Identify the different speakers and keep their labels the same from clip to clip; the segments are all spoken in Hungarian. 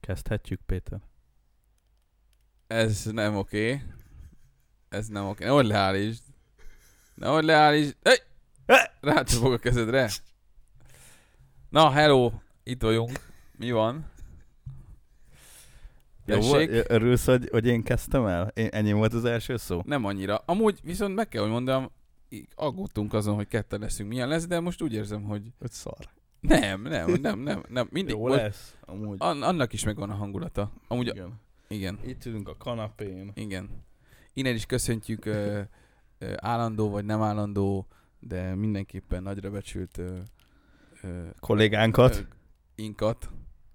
Speaker 1: Kezdhetjük, Péter.
Speaker 2: Ez nem oké. Ez nem oké. Nehogy leállítsd. Nehogy leállítsd. Hey! Rácsapok a kezedre. Na, hello. Itt vagyunk. Mi van?
Speaker 1: Jó,
Speaker 2: Tessék?
Speaker 1: volt? örülsz, hogy, hogy én kezdtem el? Én, ennyi volt az első szó?
Speaker 2: Nem annyira. Amúgy viszont meg kell, hogy mondjam, így aggódtunk azon, hogy ketten leszünk, milyen lesz, de most úgy érzem, hogy
Speaker 1: Öt szar.
Speaker 2: nem, nem, nem, nem, nem. Mindig
Speaker 1: Jó
Speaker 2: most
Speaker 1: lesz. Amúgy.
Speaker 2: an- annak is megvan a hangulata. Amúgy,
Speaker 1: igen.
Speaker 2: igen,
Speaker 1: Itt ülünk a kanapén.
Speaker 2: igen. Innen is köszöntjük ö, ö, állandó vagy nem állandó, de mindenképpen nagyra becsült ö, ö,
Speaker 1: Kollégánkat.
Speaker 2: ö, inkat.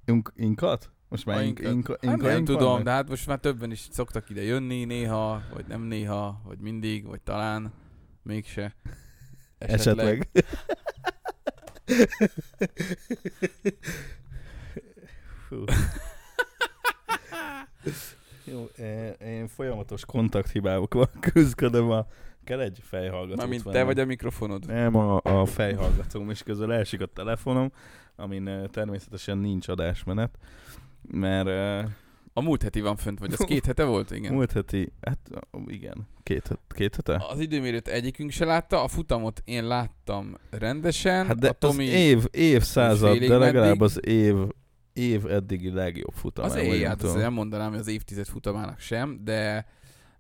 Speaker 1: Ink, inkat? Most
Speaker 2: A
Speaker 1: már ink,
Speaker 2: inkat.
Speaker 1: inka, inka,
Speaker 2: Hát
Speaker 1: inka,
Speaker 2: nem
Speaker 1: ink van
Speaker 2: tudom,
Speaker 1: meg?
Speaker 2: de hát most már többen is szoktak ide jönni néha, vagy nem néha, vagy mindig, vagy talán, mégse.
Speaker 1: Esetleg. Fú. Jó,
Speaker 2: e,
Speaker 1: én, én folyamatos kontakthibával küzdködöm a... Kell egy fejhallgatót
Speaker 2: Mármint te
Speaker 1: vennem.
Speaker 2: vagy a mikrofonod.
Speaker 1: Nem, a, a fejhallgatóm, és közül elsik a telefonom, amin ö, természetesen nincs adásmenet, mert uh,
Speaker 2: A múlt heti van fönt, vagy az két hete volt? Igen.
Speaker 1: múlt heti, hát ö, igen, két, het- két hete?
Speaker 2: Az időmérőt egyikünk se látta, a futamot én láttam rendesen,
Speaker 1: Hát de
Speaker 2: a Tomi
Speaker 1: az év, évszázad,
Speaker 2: félig
Speaker 1: de legalább
Speaker 2: meddig.
Speaker 1: az év, év eddigi legjobb futam.
Speaker 2: az éj, hát azt nem mondanám, hogy az évtized futamának sem, de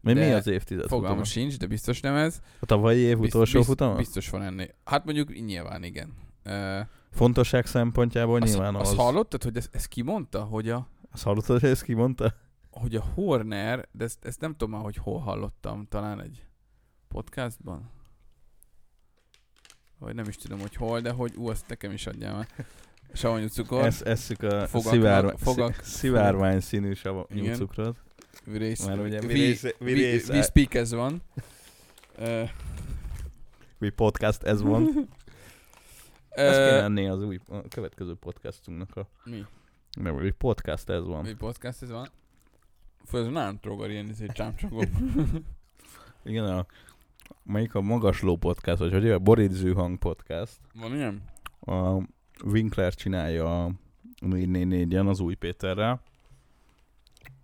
Speaker 1: Mi, mi
Speaker 2: de
Speaker 1: az évtized
Speaker 2: fogalma
Speaker 1: futama?
Speaker 2: sincs, de biztos nem ez.
Speaker 1: A tavalyi év
Speaker 2: Bizt-
Speaker 1: utolsó
Speaker 2: bizt-
Speaker 1: futama?
Speaker 2: Biztos van ennél. Hát mondjuk így nyilván igen. Ö,
Speaker 1: Fontosság szempontjából
Speaker 2: azt,
Speaker 1: nyilván
Speaker 2: azt
Speaker 1: az.
Speaker 2: hallottad, hogy ezt, ezt kimondta, hogy a,
Speaker 1: azt hallottad, hogy ezt kimondta?
Speaker 2: hogy a Horner, de ezt, ezt nem tudom már, hogy hol hallottam, talán egy podcastban? Vagy nem is tudom, hogy hol, de hogy ú, azt nekem is adjál már. Savanyú cukor,
Speaker 1: Ezt esszük a
Speaker 2: Fogak-
Speaker 1: szivárvány,
Speaker 2: fogak-
Speaker 1: szivárvány színű savanyú
Speaker 2: Igen.
Speaker 1: cukrot.
Speaker 2: virész.
Speaker 1: Már ugye
Speaker 2: vi-
Speaker 1: virész-
Speaker 2: vi-
Speaker 1: virész-
Speaker 2: vi- speak ez van. Ö,
Speaker 1: Mi podcast ez van. Ez kéne
Speaker 2: ö,
Speaker 1: lenni az új, a következő podcastunknak a...
Speaker 2: Mi?
Speaker 1: Nem, hogy podcast ez van.
Speaker 2: Mi podcast ez van? Fú, ez nagyon trógar ilyen, ez egy csámcsogó.
Speaker 1: Igen, a... Melyik a Magasló podcast, vagy hogy a Boridzű hang podcast.
Speaker 2: Van ilyen?
Speaker 1: A Winkler csinálja a 444 en az új Péterrel.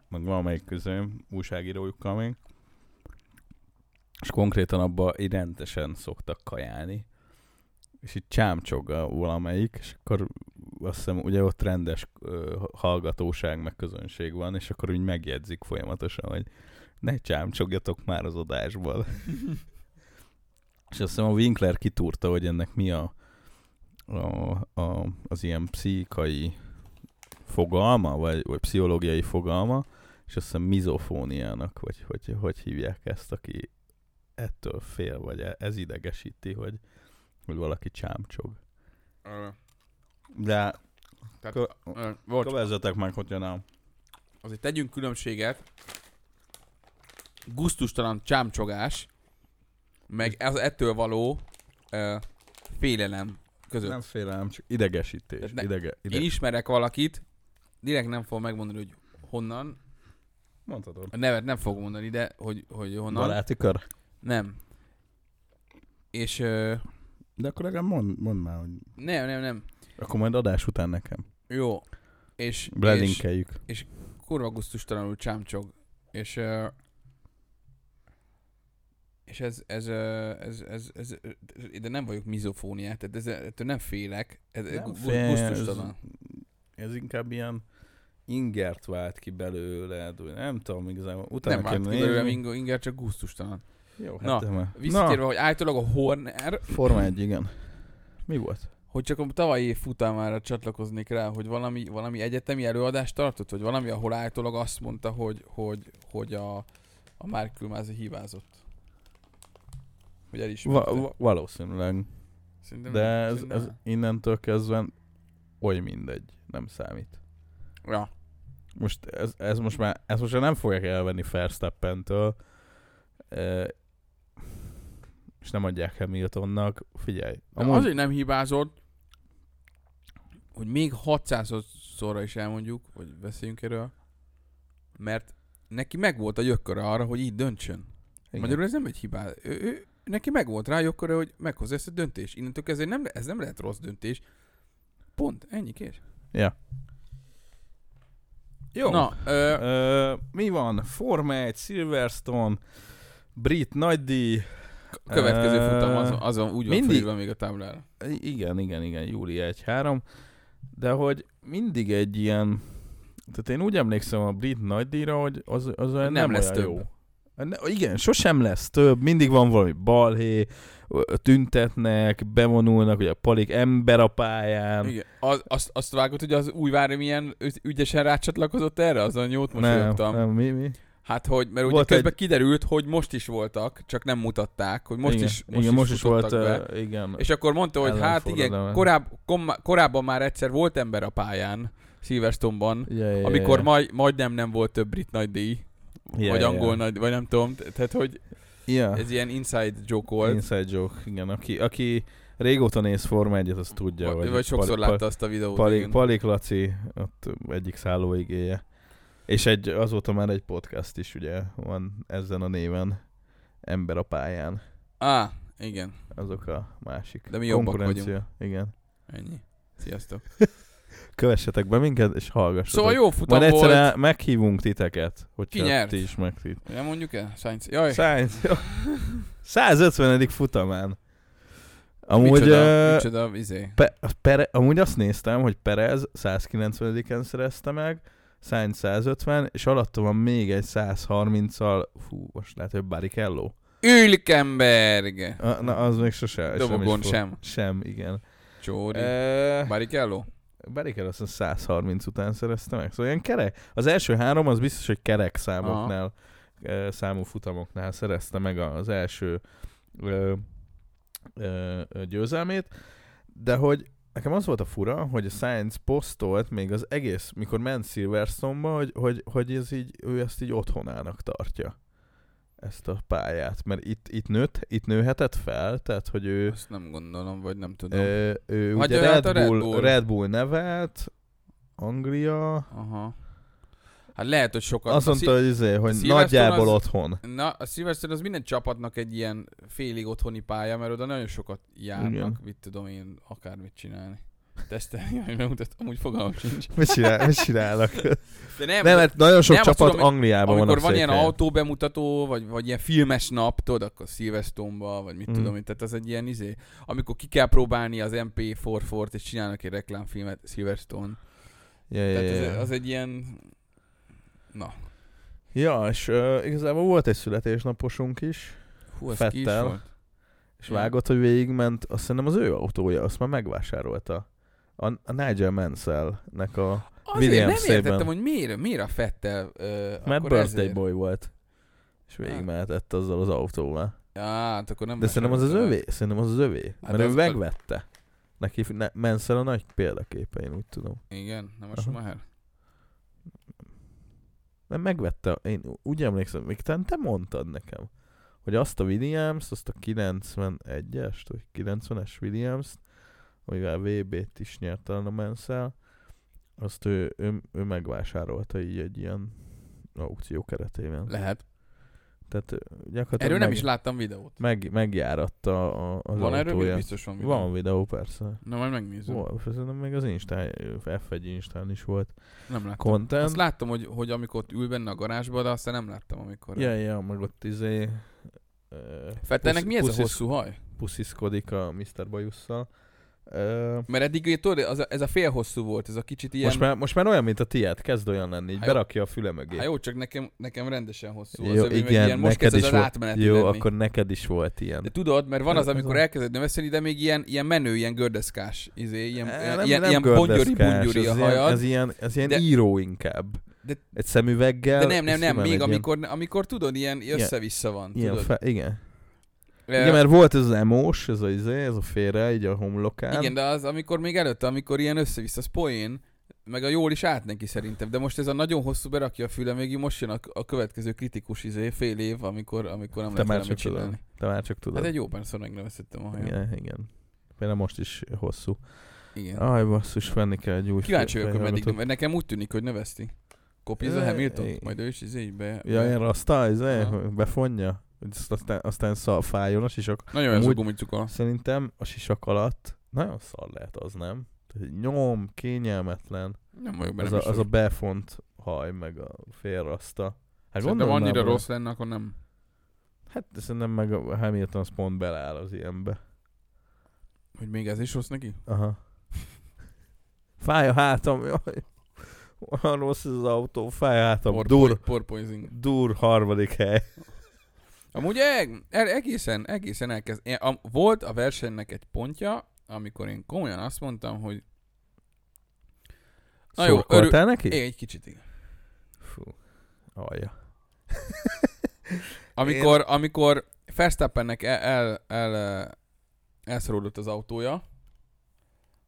Speaker 1: Meg valamelyik közé újságírójukkal még. És konkrétan abba így rendesen szoktak kajálni. És itt csámcsog a valamelyik, és akkor azt hiszem, ugye ott rendes ö, hallgatóság meg közönség van, és akkor úgy megjegyzik folyamatosan, hogy ne csámcsogjatok már az adásból. és azt hiszem a Winkler kitúrta, hogy ennek mi a, a, a az ilyen pszichai fogalma, vagy, vagy pszichológiai fogalma, és azt hiszem mizofóniának, vagy hogy, hogy hívják ezt, aki ettől fél, vagy e- ez idegesíti, hogy, hogy valaki csámcsog.
Speaker 2: Ö,
Speaker 1: De
Speaker 2: Tehát,
Speaker 1: Kö-
Speaker 2: ö, volt,
Speaker 1: kövezzetek meg, hogyha nem.
Speaker 2: azért tegyünk különbséget. Gusztustalan csámcsogás, meg ez ettől való ö, félelem között.
Speaker 1: Nem félelem, csak idegesítés.
Speaker 2: Tehát ne-
Speaker 1: idege, ide,
Speaker 2: Én ismerek valakit, direkt nem fog megmondani, hogy honnan.
Speaker 1: Mondhatod.
Speaker 2: A nevet nem fog mondani, de hogy, hogy honnan.
Speaker 1: Baráti kör.
Speaker 2: Nem. És ö,
Speaker 1: De akkor legalább mond, mond már, hogy
Speaker 2: nem, nem, nem.
Speaker 1: akkor majd adás után nekem.
Speaker 2: Jó. És, és
Speaker 1: Belinkeljük.
Speaker 2: kurva gusztustalanul csámcsog. És ö, és ez, ez, ö, ez, ez, ez, ez, de nem vagyok mizofóniát, tehát ez, ettől nem félek, ez
Speaker 1: Nem
Speaker 2: gu- gu-
Speaker 1: fél, ez-
Speaker 2: gusztustalan.
Speaker 1: Ez inkább ilyen ingert vált ki belőle, de nem tudom igazán. Utána
Speaker 2: Nem vált ki
Speaker 1: kell
Speaker 2: belőlem
Speaker 1: nézni.
Speaker 2: inga- inkább csak gusztustalan.
Speaker 1: Jó, hát
Speaker 2: Na,
Speaker 1: de már.
Speaker 2: Visszatérve, hogy állítólag a Horner
Speaker 1: Forma egy, igen. Mi volt?
Speaker 2: hogy csak a tavalyi év futamára csatlakoznék rá, hogy valami, valami egyetemi előadást tartott, vagy valami, ahol állítólag azt mondta, hogy, hogy, hogy a, a Mark Külmázi hívázott. Hogy elismerte.
Speaker 1: Va- va- valószínűleg.
Speaker 2: Szerintem
Speaker 1: De
Speaker 2: nem,
Speaker 1: ez,
Speaker 2: szerintem
Speaker 1: ez
Speaker 2: nem.
Speaker 1: innentől kezdve oly mindegy, nem számít.
Speaker 2: Ja.
Speaker 1: Most ez, ez most már ezt most már nem fogják elvenni Verstappentől, e, és nem adják Hamiltonnak, figyelj.
Speaker 2: De Amúgy... Azért nem hibázott, hogy még 600-szorra is elmondjuk, hogy beszéljünk erről, mert neki megvolt a jökköre arra, hogy így döntsön.
Speaker 1: igen.
Speaker 2: Magyarul ez nem egy hibá. Ő, ő, neki meg volt rá akkor, hogy meghozza ezt a döntést. Innentől kezdve nem, le- ez nem lehet rossz döntés. Pont, ennyi kész.
Speaker 1: Ja. Jó.
Speaker 2: Na, ö,
Speaker 1: Ö, mi van? Forma 1, Silverstone, Brit nagydíj.
Speaker 2: a következő
Speaker 1: Ö,
Speaker 2: futam azon, azon úgy van
Speaker 1: mindig-
Speaker 2: fölírva még a táblára.
Speaker 1: I- Igen, igen, igen, júli 1-3. De hogy mindig egy ilyen... Tehát én úgy emlékszem a brit nagydíjra, hogy az, az olyan nem,
Speaker 2: Nem lesz
Speaker 1: olyan
Speaker 2: több.
Speaker 1: jó. Ne, igen, sosem lesz több, mindig van valami balhé, ö, tüntetnek, bevonulnak, ugye a palik ember a pályán.
Speaker 2: Igen. Az, azt, azt vágod, hogy az újvári milyen ügy- ügyesen rácsatlakozott erre? Azon jót
Speaker 1: nem,
Speaker 2: mosolyogtam.
Speaker 1: nem, mi, mi?
Speaker 2: Hát, hogy, mert ugye
Speaker 1: Volt
Speaker 2: közben kiderült, hogy most is voltak, csak nem mutatták, hogy most
Speaker 1: igen,
Speaker 2: is most
Speaker 1: igen,
Speaker 2: is,
Speaker 1: most is volt,
Speaker 2: futottak be.
Speaker 1: ö, igen.
Speaker 2: És akkor mondta, hogy hát igen,
Speaker 1: ellenforradalom.
Speaker 2: koráb, kom, korábban már egyszer volt ember a pályán, Silverstone-ban,
Speaker 1: Ja, ja, ja,
Speaker 2: amikor
Speaker 1: ja.
Speaker 2: majd, majdnem nem volt több brit nagy díj,
Speaker 1: Ja,
Speaker 2: vagy
Speaker 1: ja,
Speaker 2: angol
Speaker 1: ja.
Speaker 2: nagy, vagy nem tudom, tehát hogy
Speaker 1: ja.
Speaker 2: ez ilyen inside joke volt,
Speaker 1: Ah. Inside joke, igen. Aki, aki régóta néz Forma 1 az tudja.
Speaker 2: vagy,
Speaker 1: hogy
Speaker 2: vagy sokszor
Speaker 1: Pali-
Speaker 2: látta azt a videót.
Speaker 1: Palik,
Speaker 2: igen.
Speaker 1: Palik Laci, ott egyik szállóigéje. És egy, azóta már egy podcast is ugye van ezen a néven. Ember a pályán.
Speaker 2: Á, Ah, igen,
Speaker 1: Azok a másik.
Speaker 2: De mi jobbak
Speaker 1: konkurencia. Igen.
Speaker 2: ennyi. Sziasztok.
Speaker 1: Kövessetek be minket, és hallgassatok.
Speaker 2: Szóval jó futam
Speaker 1: Majd
Speaker 2: volt.
Speaker 1: egyszer el- meghívunk titeket,
Speaker 2: Ki
Speaker 1: hogyha
Speaker 2: nyert?
Speaker 1: ti is meghívjuk.
Speaker 2: Nem mondjuk el? Sainz. Jaj,
Speaker 1: Sainz, jó. 150. futamán. Amúgy... eh,
Speaker 2: micsoda,
Speaker 1: ö,
Speaker 2: micsoda, izé.
Speaker 1: Pe- a Pere, amúgy azt néztem, hogy Perez 190-en szerezte meg, Sainz 150, és alatta van még egy 130-al, fú, most lehet, hogy Barrichello.
Speaker 2: Ülkenberg!
Speaker 1: A- Na, az még sose.
Speaker 2: Dobogon
Speaker 1: is fog-
Speaker 2: sem.
Speaker 1: Sem, igen.
Speaker 2: Csóri.
Speaker 1: E-
Speaker 2: Barrichello?
Speaker 1: Barrichello azt hiszem 130 után szerezte meg, szóval ilyen kerek. Az első három az biztos, hogy kerek számoknál, e- számú futamoknál szerezte meg az első ö, ö, ö, győzelmét, de hogy nekem az volt a fura, hogy a Science posztolt még az egész, mikor ment Silverstone-ba, hogy, hogy, hogy ez így, ő ezt így otthonának tartja ezt a pályát, mert itt, itt, nőtt, itt nőhetett fel, tehát hogy ő,
Speaker 2: Azt nem gondolom, vagy nem tudom.
Speaker 1: Ö, ő
Speaker 2: Hát
Speaker 1: ugye
Speaker 2: ő hát
Speaker 1: Red,
Speaker 2: a Red
Speaker 1: Bull,
Speaker 2: Bull.
Speaker 1: Red Bull nevelt, Anglia,
Speaker 2: Aha. Hát lehet, hogy sokat...
Speaker 1: azt
Speaker 2: a szí-
Speaker 1: mondta, hogy, izé, hogy
Speaker 2: Silverstone
Speaker 1: nagyjából
Speaker 2: az-
Speaker 1: otthon.
Speaker 2: Na, a Silverstone az minden csapatnak egy ilyen félig otthoni pálya, mert oda nagyon sokat járnak,
Speaker 1: Igen.
Speaker 2: mit tudom én, akármit csinálni. Tesztelni, hogy megmutatom, úgy fogalmam sincs.
Speaker 1: Mit, csinál, mit csinálnak?
Speaker 2: De nem,
Speaker 1: nem, mert nagyon sok
Speaker 2: nem, azt
Speaker 1: csapat
Speaker 2: tudom, hogy
Speaker 1: Angliában van
Speaker 2: amikor
Speaker 1: a
Speaker 2: van ilyen
Speaker 1: székhelyen.
Speaker 2: autóbemutató, vagy, vagy ilyen filmes nap, tudod, akkor Silverstone-ba, vagy mit
Speaker 1: Mhm.
Speaker 2: tudom én, tehát az egy ilyen izé, amikor ki kell próbálni az MP4-fort, és csinálnak egy reklámfilmet Silverstone.
Speaker 1: Ja, ja,
Speaker 2: Tehát
Speaker 1: ja.
Speaker 2: az, az egy ilyen... Na,
Speaker 1: ja, és uh, igazából volt egy születésnaposunk is,
Speaker 2: hú, ez ki is
Speaker 1: Fettel.
Speaker 2: volt.
Speaker 1: és
Speaker 2: Igen.
Speaker 1: vágott, hogy végigment, azt hiszem az ő autója, azt már megvásárolta. A, a Nigel Mansell-nek a...
Speaker 2: Azért
Speaker 1: Williams
Speaker 2: nem
Speaker 1: szépen.
Speaker 2: értettem, hogy miért, miért a Fettel ö,
Speaker 1: Mert
Speaker 2: akkor
Speaker 1: birthday
Speaker 2: ezért.
Speaker 1: boy volt. És végigmehetett azzal az autóval.
Speaker 2: Á, hát akkor nem
Speaker 1: De szerintem az az
Speaker 2: vásárolta
Speaker 1: övé, szerintem az az övé.
Speaker 2: Hát
Speaker 1: mert
Speaker 2: az-
Speaker 1: ő megvette. Neki ne, Mansell a nagy példaképe, én úgy tudom.
Speaker 2: meg. Igen, nem a
Speaker 1: Aha.
Speaker 2: Schumacher.
Speaker 1: Mert megvette, én úgy emlékszem, még te, te mondtad nekem, hogy azt a Williams, azt a 91-est, vagy 90-es williams amivel VB-t is nyert talán a Mansell, azt ő, ő, ő megvásárolta így egy ilyen aukció keretében.
Speaker 2: Lehet.
Speaker 1: Tehát ő gyakorlatilag Hát meg,
Speaker 2: Erről nem is láttam videót.
Speaker 1: meg, megjáratta a, az
Speaker 2: Van erről?
Speaker 1: autója.
Speaker 2: Bi- Biztos van videó.
Speaker 1: Van videó, persze.
Speaker 2: Na, majd megnézem.
Speaker 1: Volt, szerintem még az Instán, F1 Instán is volt
Speaker 2: Nem láttam.
Speaker 1: content.
Speaker 2: Azt láttam, hogy, hogy amikor ott ül benne a garázsba, de aztán nem láttam, amikor...
Speaker 1: Ja, ja, meg ott izé... ö,
Speaker 2: Fettelnek
Speaker 1: puszi-
Speaker 2: mi ez a
Speaker 1: puszisz-
Speaker 2: hosszú haj?
Speaker 1: Pusziszkodik a Mr. Bajusszal. Ö,
Speaker 2: Mert eddig, ugye, tudod, az a, ez a fél hosszú volt, ez a kicsit ilyen...
Speaker 1: most, már, most már olyan, mint a tiéd, kezd olyan lenni, így
Speaker 2: Há, jó.
Speaker 1: berakja a füle mögé.
Speaker 2: Hát jó, csak nekem, nekem rendesen hosszú.
Speaker 1: Jó,
Speaker 2: az övé, meg
Speaker 1: igen,
Speaker 2: ilyen, most
Speaker 1: neked
Speaker 2: kezd ez
Speaker 1: is
Speaker 2: az
Speaker 1: volt-
Speaker 2: átmeneti
Speaker 1: Jó,
Speaker 2: lenni.
Speaker 1: akkor neked is volt ilyen.
Speaker 2: De tudod, mert van az,
Speaker 1: Ez- ez
Speaker 2: amikor
Speaker 1: a-
Speaker 2: elkezded növeszteni, de még ilyen, ilyen menő, ilyen gördeszkás, izé, ilyen,
Speaker 1: E,
Speaker 2: ilyen, ilyen, ilyen
Speaker 1: gördeszkás,
Speaker 2: pongyori bungyori a
Speaker 1: ez
Speaker 2: hajad.
Speaker 1: Ilyen, ez ilyen, ez ilyen
Speaker 2: De-
Speaker 1: író inkább.
Speaker 2: De-
Speaker 1: Egy szemüveggel.
Speaker 2: de nem, nem,
Speaker 1: és
Speaker 2: nem,
Speaker 1: simán
Speaker 2: még
Speaker 1: egy
Speaker 2: amikor, amikor tudod, ilyen össze-vissza van,
Speaker 1: Ilyen, ilyen
Speaker 2: tudod. Eh,
Speaker 1: fe, igen.
Speaker 2: Ö,
Speaker 1: igen, mert volt ez az emós, ez a, izé, ez a félre, így a homlokán.
Speaker 2: igen, de az, amikor még előtte, amikor ilyen össze-vissza, az poén, meg a jól is állt neki szerintem, de most ez a nagyon hosszú berakja a füle, még most jön a, a következő kritikus izé, fél év, amikor, amikor nem
Speaker 1: Te már
Speaker 2: lehet vele
Speaker 1: csak
Speaker 2: mit
Speaker 1: tudod.
Speaker 2: csinálni.
Speaker 1: Te már csak tudod.
Speaker 2: Hát egy jó párszor megnövesztettem a hajam. Igen.
Speaker 1: Igen, igen. Például most is hosszú.
Speaker 2: Igen.
Speaker 1: Aj, basszus, venni kell egy új
Speaker 2: Kíváncsi vagyok, hogy meddig,
Speaker 1: fejhallgatót.
Speaker 2: mert nekem úgy tűnik, hogy növeszti. Kopi ez a
Speaker 1: Ö,
Speaker 2: Hamilton,
Speaker 1: igen.
Speaker 2: majd ő is izé így be...
Speaker 1: Ja, ilyen rasta, ez
Speaker 2: Aha.
Speaker 1: befonja. Hogy azt Aztán, aztán szal, fájjon a sisak.
Speaker 2: Nagyon jó ez a
Speaker 1: Amúgy-
Speaker 2: gumicuka.
Speaker 1: Szerintem a sisak alatt nagyon szar lehet az, nem? Tehát egy Nyom, kényelmetlen.
Speaker 2: Nem vagyok benne
Speaker 1: Az a, az a befont haj, meg a félraszta. Hát
Speaker 2: Szerintem
Speaker 1: gondolnám,
Speaker 2: annyira
Speaker 1: hogy-
Speaker 2: rossz lenne, akkor nem.
Speaker 1: Hát szerintem meg a Hamilton az pont beleáll az ilyenbe.
Speaker 2: Hogy még ez is rossz neki?
Speaker 1: Aha. Fáj a hátam, jaj. Olyan rossz ez az autó, fáj a hátam.
Speaker 2: Por-
Speaker 1: dur,
Speaker 2: por- Porpoising.
Speaker 1: dur harmadik hely.
Speaker 2: Amúgy eg- el- egészen, egészen elkezd... Én, a, volt a versenynek egy pontja, amikor én komolyan azt mondtam, hogy Na jó,
Speaker 1: Szurkoltál neki?
Speaker 2: én egy kicsit igen.
Speaker 1: Fú, alja.
Speaker 2: Amikor, amikor Verstappennek el, el, el, eh, elszorodott az autója,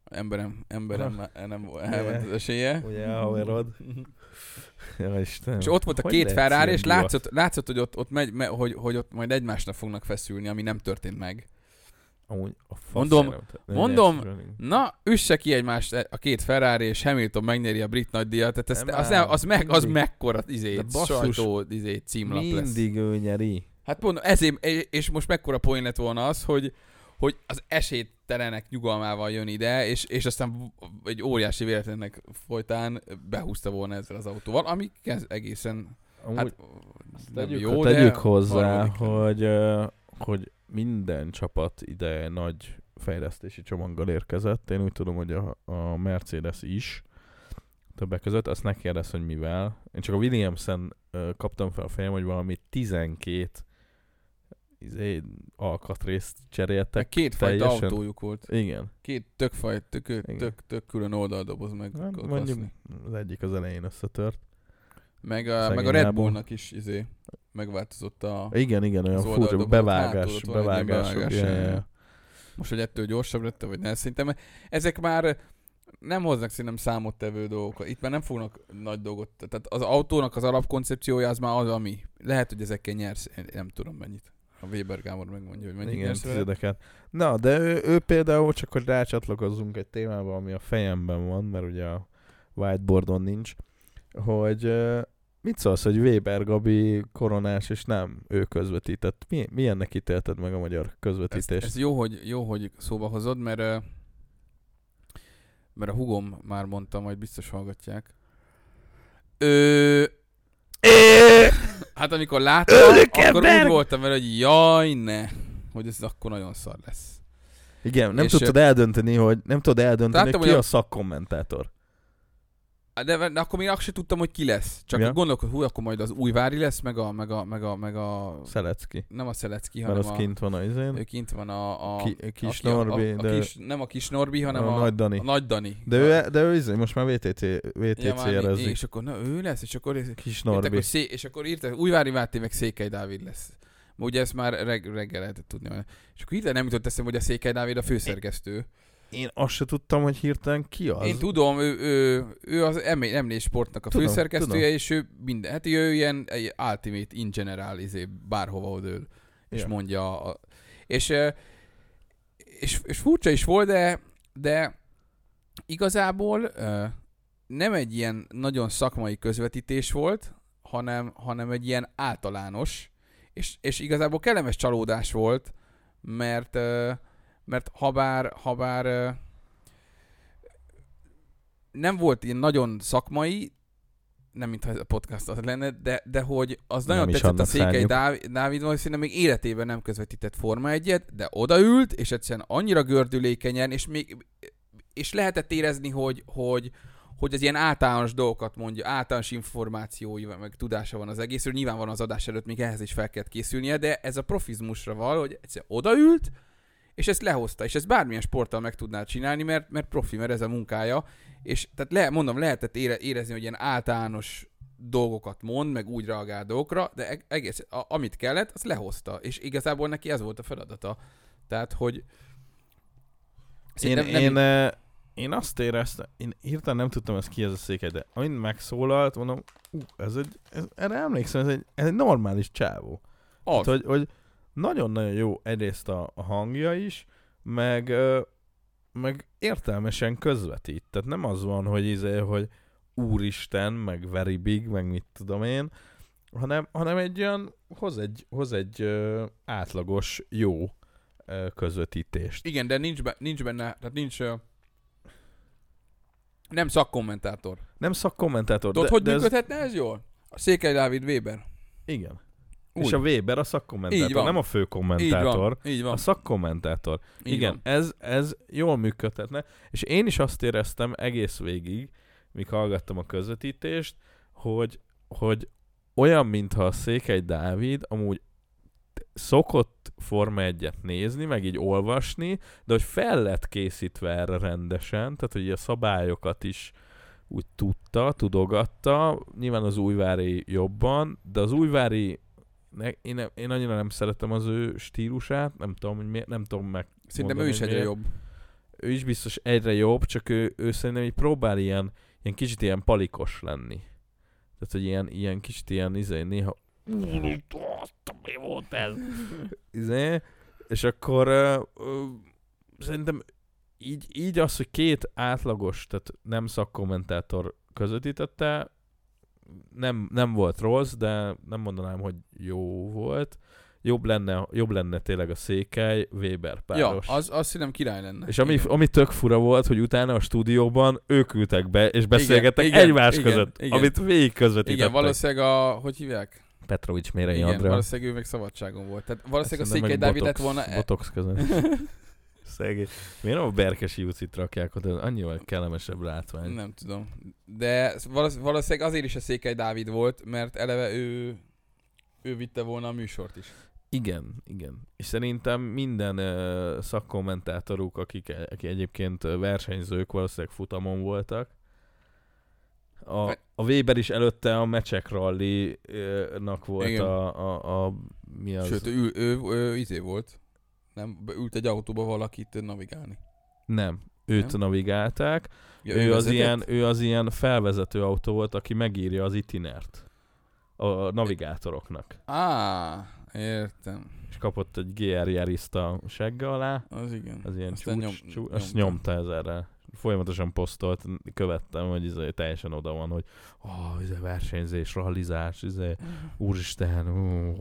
Speaker 2: emberem, emberem el nem volt, elment az esélye.
Speaker 1: Ugye a haverod? Ja, Istenem.
Speaker 2: És ott volt a
Speaker 1: Hogy
Speaker 2: két
Speaker 1: lehet
Speaker 2: Ferrari,
Speaker 1: ilyen
Speaker 2: és
Speaker 1: divat?
Speaker 2: látszott, látszott hogy, ott, ott megy, me, hogy, hogy ott majd egymásra fognak feszülni, ami nem történt meg.
Speaker 1: Amúgy a fasz
Speaker 2: Mondom-
Speaker 1: nem te- nem
Speaker 2: mondom,
Speaker 1: nyert Schroning.
Speaker 2: Na, üsse ki egymást e- a két Ferrari, és Hamilton megnyeri a brit nagydíjat, tehát ezt,
Speaker 1: Nem
Speaker 2: az,
Speaker 1: áll.
Speaker 2: nem, az, meg, az
Speaker 1: Mindig.
Speaker 2: mekkora izé,
Speaker 1: De basszus,
Speaker 2: sajtó izé, címlap lesz.
Speaker 1: Mindig ő nyeri.
Speaker 2: Hát pont ezért, és most mekkora poén lett volna az, hogy, hogy az esélytelenek nyugalmával jön ide, és, és aztán egy óriási véletlennek folytán behúzta volna ezzel az autóval, ami kezd egészen,
Speaker 1: Amúgy
Speaker 2: hát nem
Speaker 1: tegyük,
Speaker 2: jó, de
Speaker 1: tegyük hozzá,
Speaker 2: harmadik lett.
Speaker 1: hogy, ö, hogy minden csapat ide nagy fejlesztési csomaggal érkezett. Én úgy tudom, hogy a, a Mercedes is többek között. Azt ne kérdezz, hogy mivel. Én csak a Williamson ö, kaptam fel a fejem, hogy valami 12 izé, alkatrészt
Speaker 2: Meg
Speaker 1: cseréltek.
Speaker 2: két fajta
Speaker 1: teljesen-
Speaker 2: autójuk volt.
Speaker 1: Igen.
Speaker 2: Két tök, fajta, tök,
Speaker 1: Igen.
Speaker 2: tök, tök külön oldaldoboz meg
Speaker 1: Hát
Speaker 2: akar
Speaker 1: Mondjuk
Speaker 2: kaszni.
Speaker 1: az egyik az elején összetört.
Speaker 2: Meg a,
Speaker 1: szegény
Speaker 2: meg a Red
Speaker 1: lábú.
Speaker 2: Bullnak is izé, megváltozott a...
Speaker 1: Igen, igen, olyan
Speaker 2: Az
Speaker 1: furcsa
Speaker 2: oldaldoboz,
Speaker 1: bevágás,
Speaker 2: hátulról van egy ilyen
Speaker 1: bevágás.
Speaker 2: bevágás,
Speaker 1: ja, ja,
Speaker 2: ja,
Speaker 1: ja.
Speaker 2: ja. Most, hogy ettől gyorsabb lett, vagy nem, szerintem ezek már nem hoznak szerintem számottevő dolgokat. Itt már nem fognak nagy dolgot. Tehát az autónak az alapkoncepciója az már az, ami. Lehet, hogy ezekkel nyersz, én nem tudom mennyit. A Weber Gábor megmondja, hogy mennyit
Speaker 1: Igen,
Speaker 2: nyersz vele.
Speaker 1: tizedeket. Na, de ő, ő például, csak hogy rácsatlakozzunk egy témába, ami a fejemben van, mert ugye a whiteboardon nincs, hogy ö, mit szólsz, hogy Weber Gabi koronás, és nem ő közvetített. Mi, milyennek ítélted meg a magyar
Speaker 2: Ezt,
Speaker 1: közvetítést?
Speaker 2: ez jó hogy, jó, hogy szóba hozod, mert, ö, mert a hugom már mondta, majd biztos hallgatják. Ö, hát amikor láttam,
Speaker 1: Ölök
Speaker 2: akkor
Speaker 1: ember!
Speaker 2: úgy voltam vele, hogy jaj ne, hogy ez akkor nagyon szar lesz.
Speaker 1: Igen, nem
Speaker 2: és-
Speaker 1: tudtad eldönteni, hogy nem tudod eldönteni,
Speaker 2: Láttam,
Speaker 1: ki
Speaker 2: hogy
Speaker 1: a,
Speaker 2: a-
Speaker 1: szakkommentátor.
Speaker 2: Hát De, de akkor még azt sem tudtam, hogy ki lesz. Csak
Speaker 1: Ja.
Speaker 2: ja. gondolkodtam, hú, akkor majd az Újvári lesz, meg a, meg a, meg a, meg a
Speaker 1: Szelecki.
Speaker 2: nem a Szelecki,
Speaker 1: Mert
Speaker 2: hanem
Speaker 1: az
Speaker 2: a,
Speaker 1: kint van a izén.
Speaker 2: ő kint van a, a
Speaker 1: Ki- Kis
Speaker 2: aki a- a-
Speaker 1: Norbi,
Speaker 2: a
Speaker 1: de-
Speaker 2: kis, nem a Kis Norbi, hanem
Speaker 1: a
Speaker 2: a,
Speaker 1: Nagy Dani.
Speaker 2: a Nagy Dani.
Speaker 1: De ő, de ő izé, most már VTT,
Speaker 2: Ja, már mi-
Speaker 1: VTC-rezik.
Speaker 2: És akkor na, ő lesz, és akkor, és
Speaker 1: Kis
Speaker 2: akkor,
Speaker 1: Norbi.
Speaker 2: szé, és akkor írták, Újvári Máté meg Székely Dávid lesz. Ma Ugye ezt már reg, reggel lehetett tudni. És akkor hirtelen nem jutott eszembe, hogy a Székely Dávid a főszerkesztő.
Speaker 1: Én azt se tudtam, hogy hirtelen ki az.
Speaker 2: Én tudom, ő, ő, ő az emé- emlés sportnak a
Speaker 1: Tudom,
Speaker 2: főszerkesztője,
Speaker 1: tudom. és
Speaker 2: és ő minden, hát ő ilyen egy ultimate in general, izé, bárhova odől, és
Speaker 1: Ja.
Speaker 2: mondja. A, és, ö, és, és furcsa is volt, de, de igazából ö, nem egy ilyen nagyon szakmai közvetítés volt, hanem, hanem egy ilyen általános, és, és igazából kellemes csalódás volt, mert, ö, mert habár, habár ö, nem volt ilyen nagyon szakmai, nem mintha ez a podcast az lenne, de, de hogy az
Speaker 1: Nem
Speaker 2: nagyon
Speaker 1: is
Speaker 2: tetszett a
Speaker 1: annak
Speaker 2: Székely
Speaker 1: szánjuk.
Speaker 2: Dávid, Dávid valószínűleg még életében nem közvetített Forma egyet, de odaült, és egyszerűen annyira gördülékenyen, és még és lehetett érezni, hogy, hogy, hogy az ilyen általános dolgokat mondja, általános információi, meg tudása van az egészről, nyilván van az adás előtt, még ehhez is fel kellett készülnie, de ez a profizmusra val, hogy egyszer odaült, és ezt lehozta, és ezt bármilyen sporttal meg tudná csinálni, mert, mert profi, mert ez a munkája, és tehát le, mondom, lehetett ére, érezni, hogy ilyen általános dolgokat mond, meg úgy reagál dolgokra, de eg- egész, a, amit kellett, azt lehozta, és igazából neki ez volt a feladata. Tehát, hogy
Speaker 1: Én,
Speaker 2: Szerintem
Speaker 1: nem, én, nem... én azt éreztem, én hirtelen nem tudtam, ez ki ez a székely, de amint megszólalt, mondom, ú, ez egy, ez, erre emlékszem, ez egy, ez egy normális csávó.
Speaker 2: az.
Speaker 1: Hát, hogy, hogy nagyon-nagyon jó egyrészt a, a hangja is, meg, ö, meg értelmesen közvetít. Tehát nem az van, hogy izé, hogy úristen, meg very big, meg mit tudom én, hanem, hanem egy olyan, hoz egy, hoz egy ö, átlagos, jó ö, közvetítést.
Speaker 2: Igen, de nincs, be, nincs benne, tehát nincs, ö, Nem szakkommentátor.
Speaker 1: Nem szakkommentátor.
Speaker 2: Tudod,
Speaker 1: de,
Speaker 2: hogy
Speaker 1: de ez...
Speaker 2: működhetne ez jól? A Székely Dávid Weber.
Speaker 1: Igen.
Speaker 2: Úgy.
Speaker 1: Úgy. És a Weber a szakkommentátor,
Speaker 2: Így van.
Speaker 1: nem a
Speaker 2: Így
Speaker 1: főkommentátor.
Speaker 2: van, így van.
Speaker 1: A szakkommentátor.
Speaker 2: Így
Speaker 1: Igen,
Speaker 2: Van.
Speaker 1: ez, ez jól működhetne, és én is azt éreztem egész végig, míg hallgattam a közvetítést, hogy, hogy olyan, mintha a Székely Dávid amúgy szokott Forma 1 nézni, meg így olvasni, de hogy fel lett készítve erre rendesen, tehát hogy a szabályokat is úgy tudta, tudogatta, nyilván az újvári jobban, de az újvári ne, én, nem- én annyira nem szeretem az ő stílusát, nem tudom, hogy miért, nem tudom meg
Speaker 2: Szerintem ő
Speaker 1: mondani,
Speaker 2: is
Speaker 1: hogy
Speaker 2: egyre
Speaker 1: miért.
Speaker 2: jobb.
Speaker 1: ő is biztos egyre jobb, csak ő, ő szerintem így próbál ilyen, ilyen kicsit ilyen palikos lenni. Tehát, hogy ilyen, ilyen kicsit ilyen, izé, néha... Mi volt ez? Izé, és akkor ö, ö, szerintem így, így az, hogy két átlagos, tehát nem szakkommentátor közvetítette, nem, nem volt rossz, de nem mondanám, hogy jó volt. Jobb lenne, jobb lenne tényleg a székely Weber
Speaker 2: Ja,
Speaker 1: páros.
Speaker 2: az, az szerintem király lenne.
Speaker 1: És ami,
Speaker 2: Igen.
Speaker 1: ami tök fura volt, hogy utána a stúdióban ők ültek be, és beszélgettek
Speaker 2: igen,
Speaker 1: egymás
Speaker 2: igen,
Speaker 1: között,
Speaker 2: igen.
Speaker 1: amit végig közvetítettek.
Speaker 2: Igen, valószínűleg a... Hogy hívják?
Speaker 1: Petrovics Mérei
Speaker 2: Igen,
Speaker 1: Andrea.
Speaker 2: valószínűleg ő meg szabadságon volt. Tehát valószínűleg a
Speaker 1: Szerintem
Speaker 2: Székely
Speaker 1: meg
Speaker 2: Dávid lett
Speaker 1: botox-
Speaker 2: volna... e-
Speaker 1: Botox között. Szegény. Miért nem a berkesi utcit rakják oda? Annyival kellemesebb látvány. Nem.
Speaker 2: Nem tudom. De valósz- valószínűleg azért is a Székely Dávid volt, mert eleve ő ő vitte volna a műsort is.
Speaker 1: Igen, igen. És szerintem minden uh, szakkommentátoruk, akik, akik egyébként ö, versenyzők, valószínűleg futamon voltak, a, a Weber is előtte a Mecsek Rally-nak volt
Speaker 2: Igen.
Speaker 1: a, a, a, mi az?
Speaker 2: Sőt, ő, ül- ő, ő, ő izé volt. Nem, be- ült egy autóba valakit navigálni.
Speaker 1: Nem, őt
Speaker 2: Nem?
Speaker 1: nem? navigálták.
Speaker 2: Ja,
Speaker 1: Ja, ő, az
Speaker 2: vezetett?
Speaker 1: ilyen, ő az ilyen felvezető autó volt, aki megírja az itinert a navigátoroknak.
Speaker 2: Á, értem.
Speaker 1: És kapott egy GR Yarista segge alá,
Speaker 2: Az igen.
Speaker 1: az ilyen
Speaker 2: Aztán
Speaker 1: csúcs,
Speaker 2: nyom-
Speaker 1: nyom, csúcs, azt
Speaker 2: nyomta.
Speaker 1: nyomta ezerre. Folyamatosan posztolt, követtem, hogy izé, teljesen oda van, hogy oh, izé, versenyzés, rallizás, izé, úristen, ó.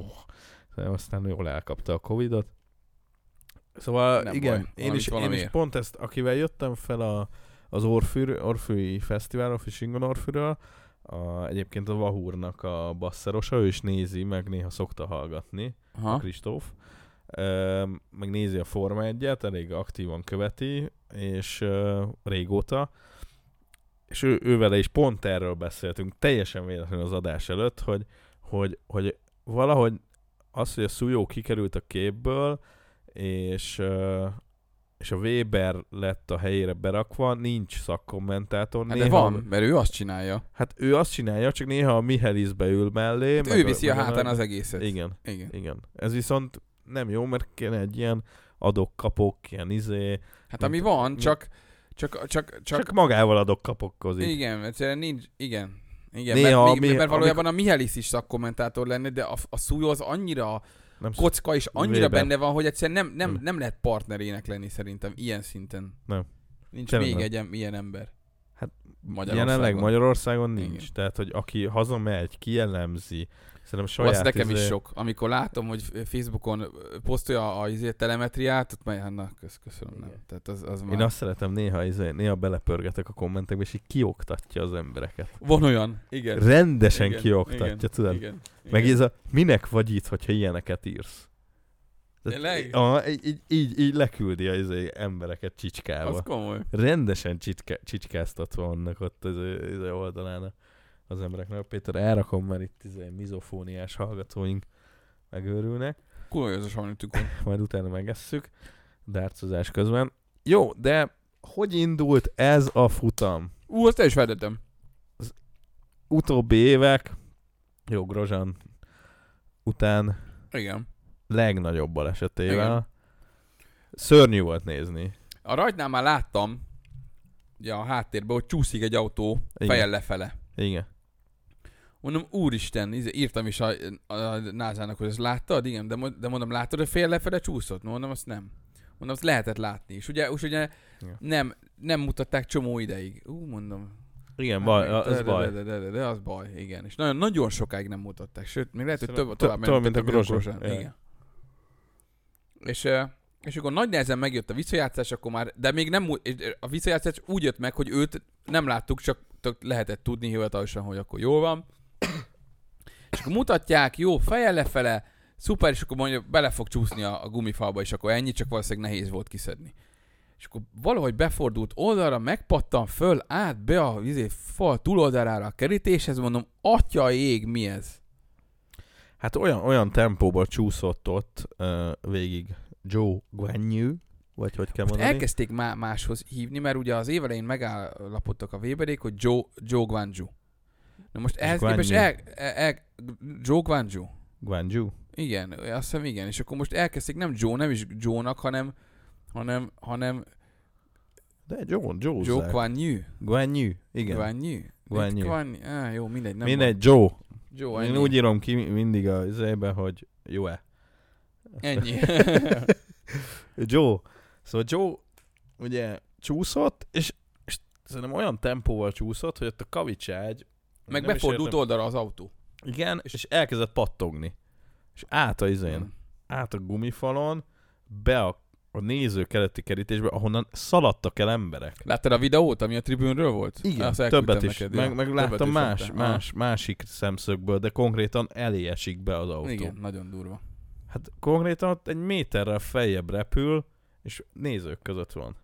Speaker 1: De aztán jól elkapta a Covidot. Szóval
Speaker 2: Nem
Speaker 1: nem igen,
Speaker 2: baj,
Speaker 1: én,
Speaker 2: valamit
Speaker 1: is, én is
Speaker 2: valamiért.
Speaker 1: pont ezt, akivel jöttem fel a, az Orfűr, Orfűi Fesztiválról, Fishing on Orfűről, a, egyébként a Vahúrnak a basszerosa, ő is nézi, meg néha szokta hallgatni, a
Speaker 2: Aha.
Speaker 1: Kristóf. Ö, Meg nézi a Forma 1-et, elég aktívan követi, és ö, régóta. És ő, ővele is pont erről beszéltünk, teljesen véletlenül az adás előtt, hogy, hogy, hogy valahogy az, hogy a Szujó kikerült a képből, és, ö, és a Weber lett a helyére berakva, nincs szakkommentátor.
Speaker 2: Hát de van, mert ő azt csinálja.
Speaker 1: Hát ő azt csinálja, csak néha a Mihelis beül mellé.
Speaker 2: Hát ő viszi a hátán az egészet.
Speaker 1: Igen.
Speaker 2: Igen.
Speaker 1: Igen. Ez viszont nem jó, mert kéne egy ilyen adok-kapok, ilyen izé, csak,
Speaker 2: Hát
Speaker 1: Nem
Speaker 2: ami
Speaker 1: tudom.
Speaker 2: van, csak, csak, csak, csak
Speaker 1: csak magával adok-kapokkozik. Igen.
Speaker 2: Igen, egyszerűen nincs, igen. Igen,
Speaker 1: Néha,
Speaker 2: mert, mi,
Speaker 1: mi-
Speaker 2: mert valójában a Mihelis is szakkommentátor lenne, de a, a Szújó az annyira
Speaker 1: Nem, szok,
Speaker 2: kocka és annyira
Speaker 1: Weber.
Speaker 2: benne van, hogy egyszerűen nem, nem,
Speaker 1: Nem.
Speaker 2: nem lehet partnerének lenni szerintem ilyen szinten.
Speaker 1: Hm. Nem.
Speaker 2: Nincs
Speaker 1: Tényleg
Speaker 2: még
Speaker 1: nem.
Speaker 2: egy em- ilyen ember.
Speaker 1: Hát,
Speaker 2: Magyarországon.
Speaker 1: jelenleg Magyarországon nincs.
Speaker 2: Igen.
Speaker 1: Igen. Tehát, hogy aki hazamegy, kielemzi, szerintem saját...
Speaker 2: Azt nekem
Speaker 1: izé-
Speaker 2: is sok. Amikor látom, hogy Facebookon ö, posztolja a, a telemetriát, ott már hát, na, kösz, köszönöm, nem.
Speaker 1: Igen.
Speaker 2: Tehát az, az már...
Speaker 1: Én azt szeretem, néha, izé, néha belepörgetek a kommentekbe, és így kioktatja az embereket.
Speaker 2: Van olyan, igen.
Speaker 1: Rendesen
Speaker 2: igen,
Speaker 1: kioktatja, tudod?
Speaker 2: Igen, igen.
Speaker 1: Meg ez a, minek vagy itt, hogyha ilyeneket írsz?
Speaker 2: Tényleg?
Speaker 1: Aha, így, így, így, így leküldi az izé embereket csicskával.
Speaker 2: Az komoly.
Speaker 1: rendesen csitke, csicskáztatva vannak ott az, ő- az ő oldalán a- az embereknek. Péter, elrakom, mert itt izé mizofóniás hallgatóink megőrülnek,
Speaker 2: Kulajozos van tükön.
Speaker 1: majd utána megesszük dárcozás közben. Jó, de hogy indult ez a futam?
Speaker 2: Ú, azt el is vedettem.
Speaker 1: Utóbbi évek, jó Grozan után
Speaker 2: Igen.
Speaker 1: legnagyobb balesetével.
Speaker 2: Igen.
Speaker 1: Igen. Szörnyű volt nézni.
Speaker 2: A rajtnál már láttam, ugye a háttérben, hogy csúszik egy autó
Speaker 1: Igen.
Speaker 2: fejjel lefele.
Speaker 1: Igen.
Speaker 2: Mondom, úristen, izé- írtam is a, a, a názának, hogy ezt láttad? Igen, de, mo- de mondom, láttad, hogy fél lefele csúszott? Mondom, azt nem. Mondom, azt lehetett látni. És ugye, és ugye
Speaker 1: Igen.
Speaker 2: nem, nem mutatták csomó ideig. Ú, mondom.
Speaker 1: Igen,
Speaker 2: hát
Speaker 1: baj,
Speaker 2: meg-
Speaker 1: az
Speaker 2: de-
Speaker 1: baj.
Speaker 2: De, de, de, de, az baj, igen. És nagyon, nagyon sokáig nem mutatták. Sőt, még lehet, hogy
Speaker 1: Szerintem
Speaker 2: több,
Speaker 1: to-
Speaker 2: tovább
Speaker 1: tovább, mint a
Speaker 2: mentettek,
Speaker 1: Grozsa.
Speaker 2: Igen. És ö, És akkor nagy nehezen megjött a visszajátszás, akkor már, de még nem úgy, és a visszajátszás úgy jött meg, hogy őt nem láttuk, csak tök lehetett tudni hivatalosan, hogy akkor jól van. És akkor mutatják, jó, feje lefele, szuper, és akkor mondja, bele fog csúszni a, a gumifalba, és akkor ennyi, csak valószínűleg nehéz volt kiszedni. És akkor valahogy befordult oldalra, megpattan föl, át be a izé, fal túloldalára a kerítéshez, mondom, atya ég, mi ez?
Speaker 1: Hát olyan, olyan tempóban csúszott ott uh, végig Joe Guanyu, vagy hogy kell mondani.
Speaker 2: Elkezdték má- máshoz hívni, mert ugye az évelején megállapodtak a Weberék, hogy Joe, Joe Guanju. Na most ehhez
Speaker 1: Guan
Speaker 2: képest
Speaker 1: Yu.
Speaker 2: el, el, el, Joe Guanju.
Speaker 1: Guanyu.
Speaker 2: Igen, azt hiszem igen. És akkor most elkezdték nem Joe, nem is Joe-nak, hanem, hanem, hanem
Speaker 1: De Joe, Joe,
Speaker 2: Joe Guan Yu.
Speaker 1: Guanyu. Igen. Guan,
Speaker 2: Guan Yu.
Speaker 1: Guan Yu.
Speaker 2: Guan Yu. Ah, jó, mindegy. Nem
Speaker 1: Mindegy, Joe.
Speaker 2: Van. Joe,
Speaker 1: Én
Speaker 2: ennyi.
Speaker 1: úgy írom ki mindig a zébe, hogy jó-e.
Speaker 2: ennyi.
Speaker 1: Joe. Szóval Joe ugye csúszott, és, és szerintem olyan tempóval csúszott, hogy ott a kavicságy
Speaker 2: Meg
Speaker 1: nem is
Speaker 2: befordult
Speaker 1: értem-
Speaker 2: oldalra az autó.
Speaker 1: Igen, és, és elkezdett pattogni. És át a izén, át a gumifalon, be a, a néző keleti kerítésbe, ahonnan szaladtak el emberek.
Speaker 2: Láttad a videót, ami a tribűnről volt?
Speaker 1: Igen,
Speaker 2: Azt elküldtem
Speaker 1: többet is.
Speaker 2: neked, ja.
Speaker 1: meg, meg
Speaker 2: Többet
Speaker 1: láttam
Speaker 2: is
Speaker 1: más,
Speaker 2: láttál. Aha.
Speaker 1: más, másik szemszögből, de konkrétan elé esik be az autó.
Speaker 2: Igen, nagyon durva.
Speaker 1: Hát konkrétan ott egy méterrel feljebb repül, és nézők között van.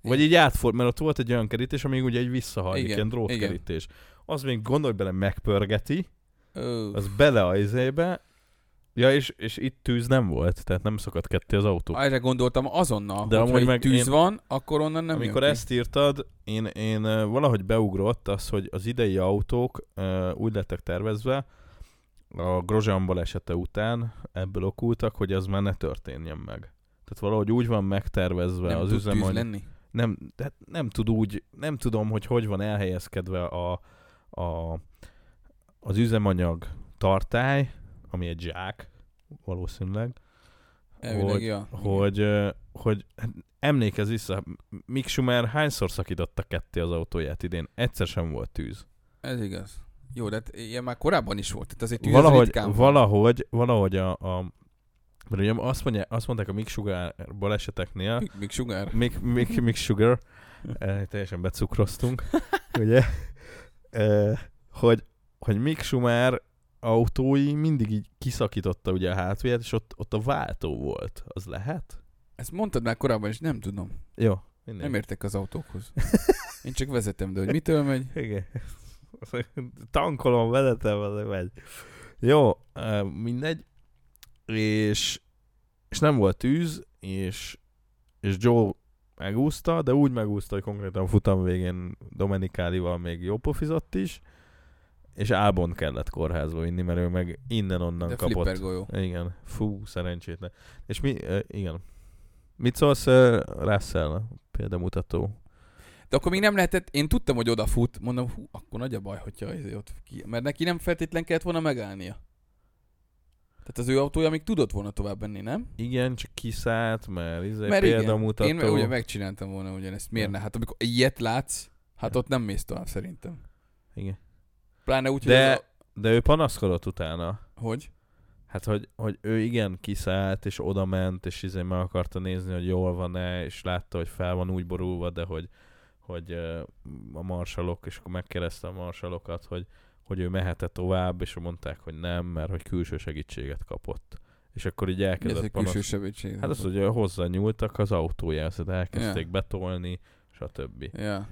Speaker 1: Vagy így átford, mert ott volt egy olyan kerítés, ami ugye egy visszahajlik,
Speaker 2: Igen,
Speaker 1: ilyen drótkerítés. Az még gondolj bele, megpörgeti,
Speaker 2: Ö,
Speaker 1: az bele a izébe, ja, és, és itt tűz nem volt, tehát nem szakadt ketté az autó.
Speaker 2: Erre gondoltam azonnal,
Speaker 1: De
Speaker 2: De hogyha
Speaker 1: amúgy
Speaker 2: itt
Speaker 1: meg
Speaker 2: tűz
Speaker 1: én-
Speaker 2: van, akkor onnan nem
Speaker 1: Amikor
Speaker 2: jön
Speaker 1: ezt írtad, én, én ö, valahogy beugrott az, hogy az idei autók ö, úgy lettek tervezve, a Grozsán balesete után ebből okultak, hogy ez már ne történjen meg. Tehát valahogy úgy van
Speaker 2: ki.
Speaker 1: megtervezve
Speaker 2: Nem
Speaker 1: az
Speaker 2: tud tűz
Speaker 1: üzemanyag,
Speaker 2: lenni.
Speaker 1: nem, tehát nem tud úgy, nem tudom, hogy hogy van elhelyezkedve a, a, az üzemanyag tartály, ami egy zsák, valószínűleg,
Speaker 2: Elvileg, ja.
Speaker 1: hogy, ö, hogy hát emlékezz vissza, Mick Schumer hányszor szakította ketté az autóját idén? Egyszer sem volt tűz.
Speaker 2: Ez igaz. Jó, de hát ilyen már korábban is volt. Tehát azért Hát tűz az
Speaker 1: Valahogy,
Speaker 2: ritkán van.
Speaker 1: valahogy, valahogy a, a mert ugye azt, mondja, azt mondták a Mick Sugar baleseteknél,
Speaker 2: Még- Még sugár.
Speaker 1: Mick, Mick, Mick Sugar, eh, teljesen becukroztunk, ugye, eh, hogy, hogy Mick Schumer autói mindig így kiszakította ugye a hátulját, és ott, ott a váltó volt. Az lehet?
Speaker 2: Ezt mondtad már korábban, és nem tudom.
Speaker 1: Jó. Mindegy.
Speaker 2: Nem értek az autókhoz. Én csak vezetem, de hogy mitől megy.
Speaker 1: Igen. Tankolom, vezetem, az megy. Jó, eh, mindegy. És, és nem volt tűz, és, és Joe megúszta, de úgy megúszta, hogy konkrétan a futam végén Domenikálival még jó pofizott is, és Ábon kellett kórházba vinni, mert ő meg innen-onnan
Speaker 2: De
Speaker 1: kapott.
Speaker 2: flipper golyó.
Speaker 1: Igen, fú, szerencsétlen. És mi, eh, igen. Mit szólsz eh, Russell példamutató?
Speaker 2: De akkor még nem lehetett, én tudtam, hogy odafut, mondom, hú, akkor nagy a baj, hogyha izé ott ki. Mert neki nem feltétlen kellett volna megállnia. Tehát az ő autója még tudott volna tovább menni, nem?
Speaker 1: Igen, csak kiszállt, mert izé
Speaker 2: Mert igen,
Speaker 1: példamutató.
Speaker 2: Én ugye megcsináltam volna ugyanezt. Miért
Speaker 1: Ja.
Speaker 2: ne? Hát amikor ilyet látsz, hát
Speaker 1: Ja.
Speaker 2: ott nem mész tovább szerintem.
Speaker 1: Igen.
Speaker 2: Pláne úgy,
Speaker 1: De-
Speaker 2: hogy, az a...
Speaker 1: De ő panaszkodott utána.
Speaker 2: hogy
Speaker 1: Hát, hogy, hogy ő igen kiszállt, és oda ment, és izé meg akarta nézni, hogy jól van-e, és látta, hogy fel van úgy borulva, de hogy, hogy ö, a marsalok, és akkor megkereszte a marsalokat, hogy, hogy ő mehet tovább, és mondták, hogy nem, mert hogy külső segítséget kapott. És akkor így
Speaker 2: mi ez
Speaker 1: elkezdett
Speaker 2: egy külső sebesség.
Speaker 1: Hát az, hogy hozzá nyúltak az autójához, tehát elkezdték
Speaker 2: Ja.
Speaker 1: betolni, stb.
Speaker 2: Ja.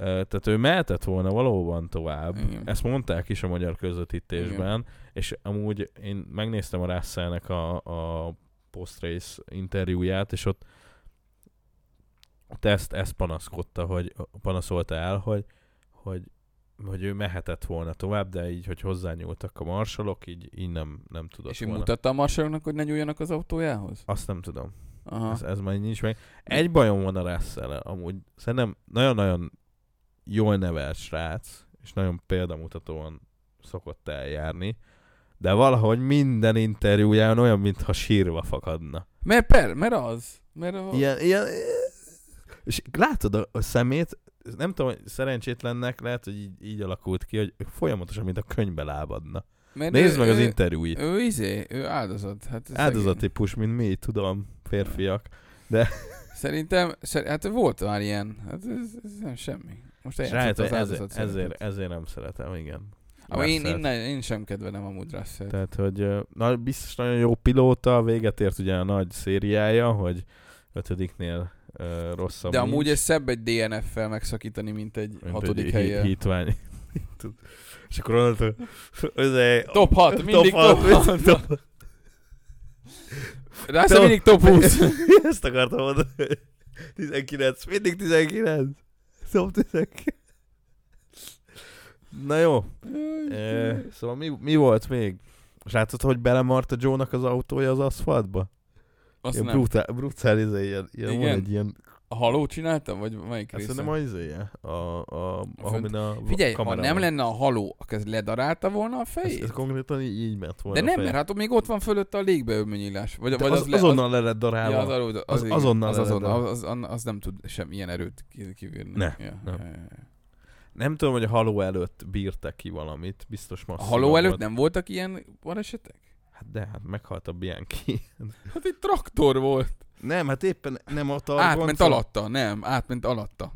Speaker 1: Ö, tehát ő mehetett volna valóban tovább.
Speaker 2: Igen.
Speaker 1: Ezt mondták is a magyar közvetítésben, és amúgy én megnéztem a Russellnek a, a post-race interjúját, és ott, ott ezt, ezt panaszkodta, hogy panaszolta el, hogy, hogy, hogy ő mehetett volna tovább, de így, hogy hozzányúltak a marsalok, így, így nem, nem tudott
Speaker 2: És én
Speaker 1: volna.
Speaker 2: mutattam Marshallnak, hogy ne nyúljanak az autójához?
Speaker 1: Azt nem tudom.
Speaker 2: Aha.
Speaker 1: Ez, ez már nincs meg. Egy bajom van a russell amúgy. Szerintem nagyon-nagyon jól nevelt srác, és nagyon példamutatóan szokott eljárni, de valahogy minden interjúján olyan, mintha sírva fakadna.
Speaker 2: Mert per, mert az. Mert a...
Speaker 1: Ilyen, ilyen... És látod a, a szemét, nem tudom, hogy szerencsétlennek lehet, hogy így, így alakult ki, hogy folyamatosan, mint a könyvbe lábadna.
Speaker 2: mert
Speaker 1: Nézd
Speaker 2: ő-
Speaker 1: meg az
Speaker 2: ő-
Speaker 1: interjúit.
Speaker 2: Ő izé, ő áldozat. Hát ez
Speaker 1: Áldozattípus, mint mi, tudom. férfiak.
Speaker 2: Szerintem, szer- hát volt már ilyen. Hát ez, ez nem semmi. Most eljátszott
Speaker 1: Srájt,
Speaker 2: az
Speaker 1: ezért,
Speaker 2: áldozat
Speaker 1: ezért,
Speaker 2: szerepet.
Speaker 1: ezért nem szeretem, igen.
Speaker 2: Amúgy én,
Speaker 1: Russell-t.
Speaker 2: én, ne- én, sem kedvelem amúgy Russell.
Speaker 1: Tehát, hogy ö, na, biztos nagyon jó pilóta, véget ért ugye a nagy szériája, hogy ötödiknél ö, rosszabb
Speaker 2: De amúgy
Speaker 1: nincs,
Speaker 2: ez szebb egy DNF-fel megszakítani, mint egy
Speaker 1: mint
Speaker 2: hatodik
Speaker 1: egy hí-
Speaker 2: helyen.
Speaker 1: Hitvány. Tud- És akkor onnantól... Özé,
Speaker 2: Top 6, mindig top
Speaker 1: hat,
Speaker 2: 6.
Speaker 1: top-
Speaker 2: Russell mindig top 20.
Speaker 1: Ezt akartam mondani. 19, mindig 19. Top 19. Na jó, Ö, szóval mi, mi volt még? És látod, hogy belemart a Joe-nak az autója az aszfaltba?
Speaker 2: Azt
Speaker 1: Ilyen
Speaker 2: nem.
Speaker 1: brutál, brutál izé, ilyen, ilyen van
Speaker 2: Igen?
Speaker 1: egy ilyen
Speaker 2: A haló csináltam, vagy melyik
Speaker 1: Hát
Speaker 2: része?
Speaker 1: szerintem az izéje, a, a, a,
Speaker 2: fönt.
Speaker 1: amin a v-
Speaker 2: Figyelj, ha
Speaker 1: kamera
Speaker 2: nem
Speaker 1: van.
Speaker 2: lenne a haló, akkor ez ledarálta volna a
Speaker 1: Ez,
Speaker 2: fejét?
Speaker 1: ez konkrétan így, így ment volna
Speaker 2: De
Speaker 1: a
Speaker 2: nem,
Speaker 1: feje.
Speaker 2: mert hát még ott van fölött a légbeömönyílás. Vagy,
Speaker 1: De
Speaker 2: vagy
Speaker 1: az,
Speaker 2: az, le-
Speaker 1: azonnal le lett
Speaker 2: Az, ja, az,
Speaker 1: darálva.
Speaker 2: arról, az,
Speaker 1: Az
Speaker 2: igen,
Speaker 1: azonnal
Speaker 2: az, azonnal,
Speaker 1: eredő.
Speaker 2: az, az, az, nem tud sem ilyen erőt ki- kivírni.
Speaker 1: Ne,
Speaker 2: ja,
Speaker 1: nem.
Speaker 2: Ja, ja, ja.
Speaker 1: Nem tudom, hogy a haló előtt bírta ki valamit, biztos
Speaker 2: A
Speaker 1: masszívan
Speaker 2: haló előtt
Speaker 1: volt.
Speaker 2: nem voltak ilyen balesetek?
Speaker 1: Hát de, hát meghalt a Bianchi.
Speaker 2: Hát egy traktor volt.
Speaker 1: nem, hát éppen nem a targon.
Speaker 2: Átment alatta, nem, átment alatta.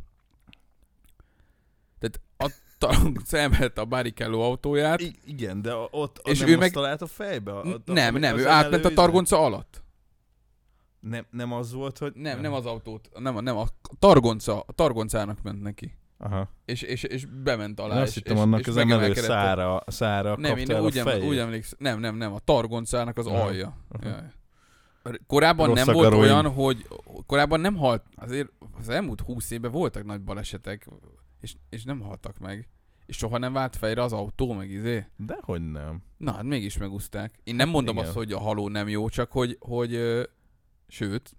Speaker 2: Tehát a tarunk elvett a Barrichello autóját,
Speaker 1: I- igen, de a- ott a,
Speaker 2: És
Speaker 1: nem
Speaker 2: ő
Speaker 1: azt
Speaker 2: meg-
Speaker 1: talált a fejbe? A, a,
Speaker 2: nem, nem,
Speaker 1: az
Speaker 2: ő
Speaker 1: emelő
Speaker 2: átment a
Speaker 1: izé?
Speaker 2: targonca alatt.
Speaker 1: Nem, nem az volt, hogy...
Speaker 2: Nem, nem az autót, nem, a- nem a targonca, a targoncának ment neki.
Speaker 1: Aha.
Speaker 2: És, és, és bement alá.
Speaker 1: Én azt
Speaker 2: és,
Speaker 1: hittem,
Speaker 2: és,
Speaker 1: annak
Speaker 2: és
Speaker 1: az emelő
Speaker 2: megemelkedett.
Speaker 1: szára, szára
Speaker 2: Nem, én
Speaker 1: kapta el
Speaker 2: úgy,
Speaker 1: a
Speaker 2: em,
Speaker 1: fejét.
Speaker 2: úgy emlékszem, nem, nem, nem, a targoncának az
Speaker 1: Aha.
Speaker 2: alja.
Speaker 1: Aha.
Speaker 2: Jaj. Korábban
Speaker 1: Rossz
Speaker 2: nem volt
Speaker 1: akaróim.
Speaker 2: olyan, hogy korábban nem halt, azért az elmúlt húsz évben voltak nagy balesetek, és, és nem haltak meg. És soha nem vált fejre az autó, meg izé.
Speaker 1: Dehogy nem.
Speaker 2: Na, hát mégis megúzták. Én nem mondom
Speaker 1: Hát igen.
Speaker 2: azt, hogy a haló nem jó, csak hogy, hogy ö, sőt,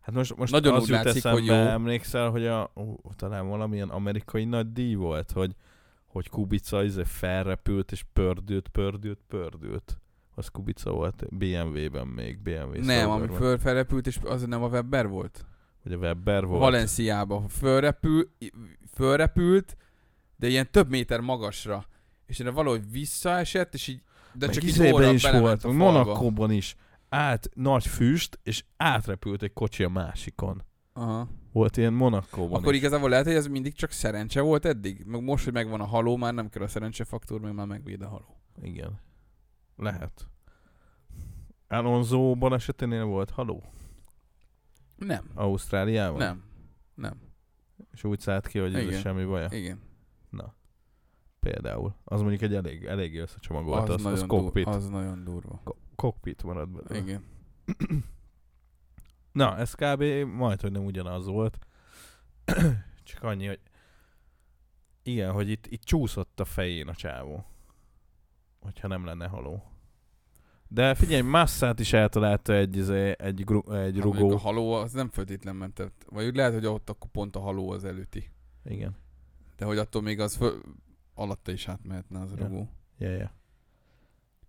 Speaker 1: Hát most, most
Speaker 2: Nagyon
Speaker 1: az
Speaker 2: úgy
Speaker 1: jut
Speaker 2: látszik,
Speaker 1: eszembe,
Speaker 2: hogy jó.
Speaker 1: emlékszel, hogy a, ó, talán valamilyen amerikai nagy díj volt, hogy, hogy Kubica izé felrepült, és pördült, pördült, pördült. Az Kubica volt BMW-ben még, BMW
Speaker 2: nem, ami
Speaker 1: szauberben.
Speaker 2: föl felrepült, és az nem a Webber volt.
Speaker 1: Vagy a Webber volt.
Speaker 2: Valenciába fölrepül, fölrepült, de ilyen több méter magasra. És erre valahogy visszaesett, és így, de
Speaker 1: Meg
Speaker 2: csak így
Speaker 1: izében
Speaker 2: óra
Speaker 1: is
Speaker 2: belement
Speaker 1: volt,
Speaker 2: a falba.
Speaker 1: Monakóban is. Át, nagy füst, és átrepült egy kocsi a másikon.
Speaker 2: Aha.
Speaker 1: Volt ilyen Monakóban
Speaker 2: Akkor
Speaker 1: is.
Speaker 2: igazából lehet, hogy ez mindig csak szerencse volt eddig. Meg most, hogy megvan a haló, már nem kell a szerencsefaktor, meg már megvéd a haló.
Speaker 1: Igen. Lehet. Alonso baleseténél volt haló?
Speaker 2: Nem.
Speaker 1: Ausztráliában?
Speaker 2: Nem. Nem.
Speaker 1: És úgy szállt ki, hogy ez
Speaker 2: Igen.
Speaker 1: semmi baja.
Speaker 2: Igen.
Speaker 1: Például. Az mondjuk egy elég, eléggé összecsomagolt. Az, az, az
Speaker 2: dur-
Speaker 1: kokpit.
Speaker 2: az nagyon durva.
Speaker 1: Ko- kokpit marad belőle.
Speaker 2: Igen.
Speaker 1: Na, ez kb. majd, hogy nem ugyanaz volt. Csak annyi, hogy igen, hogy itt, itt csúszott a fején a csávó. Hogyha nem lenne haló. De figyelj, Massát is eltalálta egy, izé- egy, gru- egy
Speaker 2: Hát mondjuk
Speaker 1: rugó.
Speaker 2: a haló az nem feltétlen mentett. Vagy úgy lehet, hogy ott akkor pont a haló az előtti.
Speaker 1: Igen.
Speaker 2: De hogy attól még az föl, alatta is átmehetne az
Speaker 1: Ja.
Speaker 2: rugó.
Speaker 1: Yeah, yeah.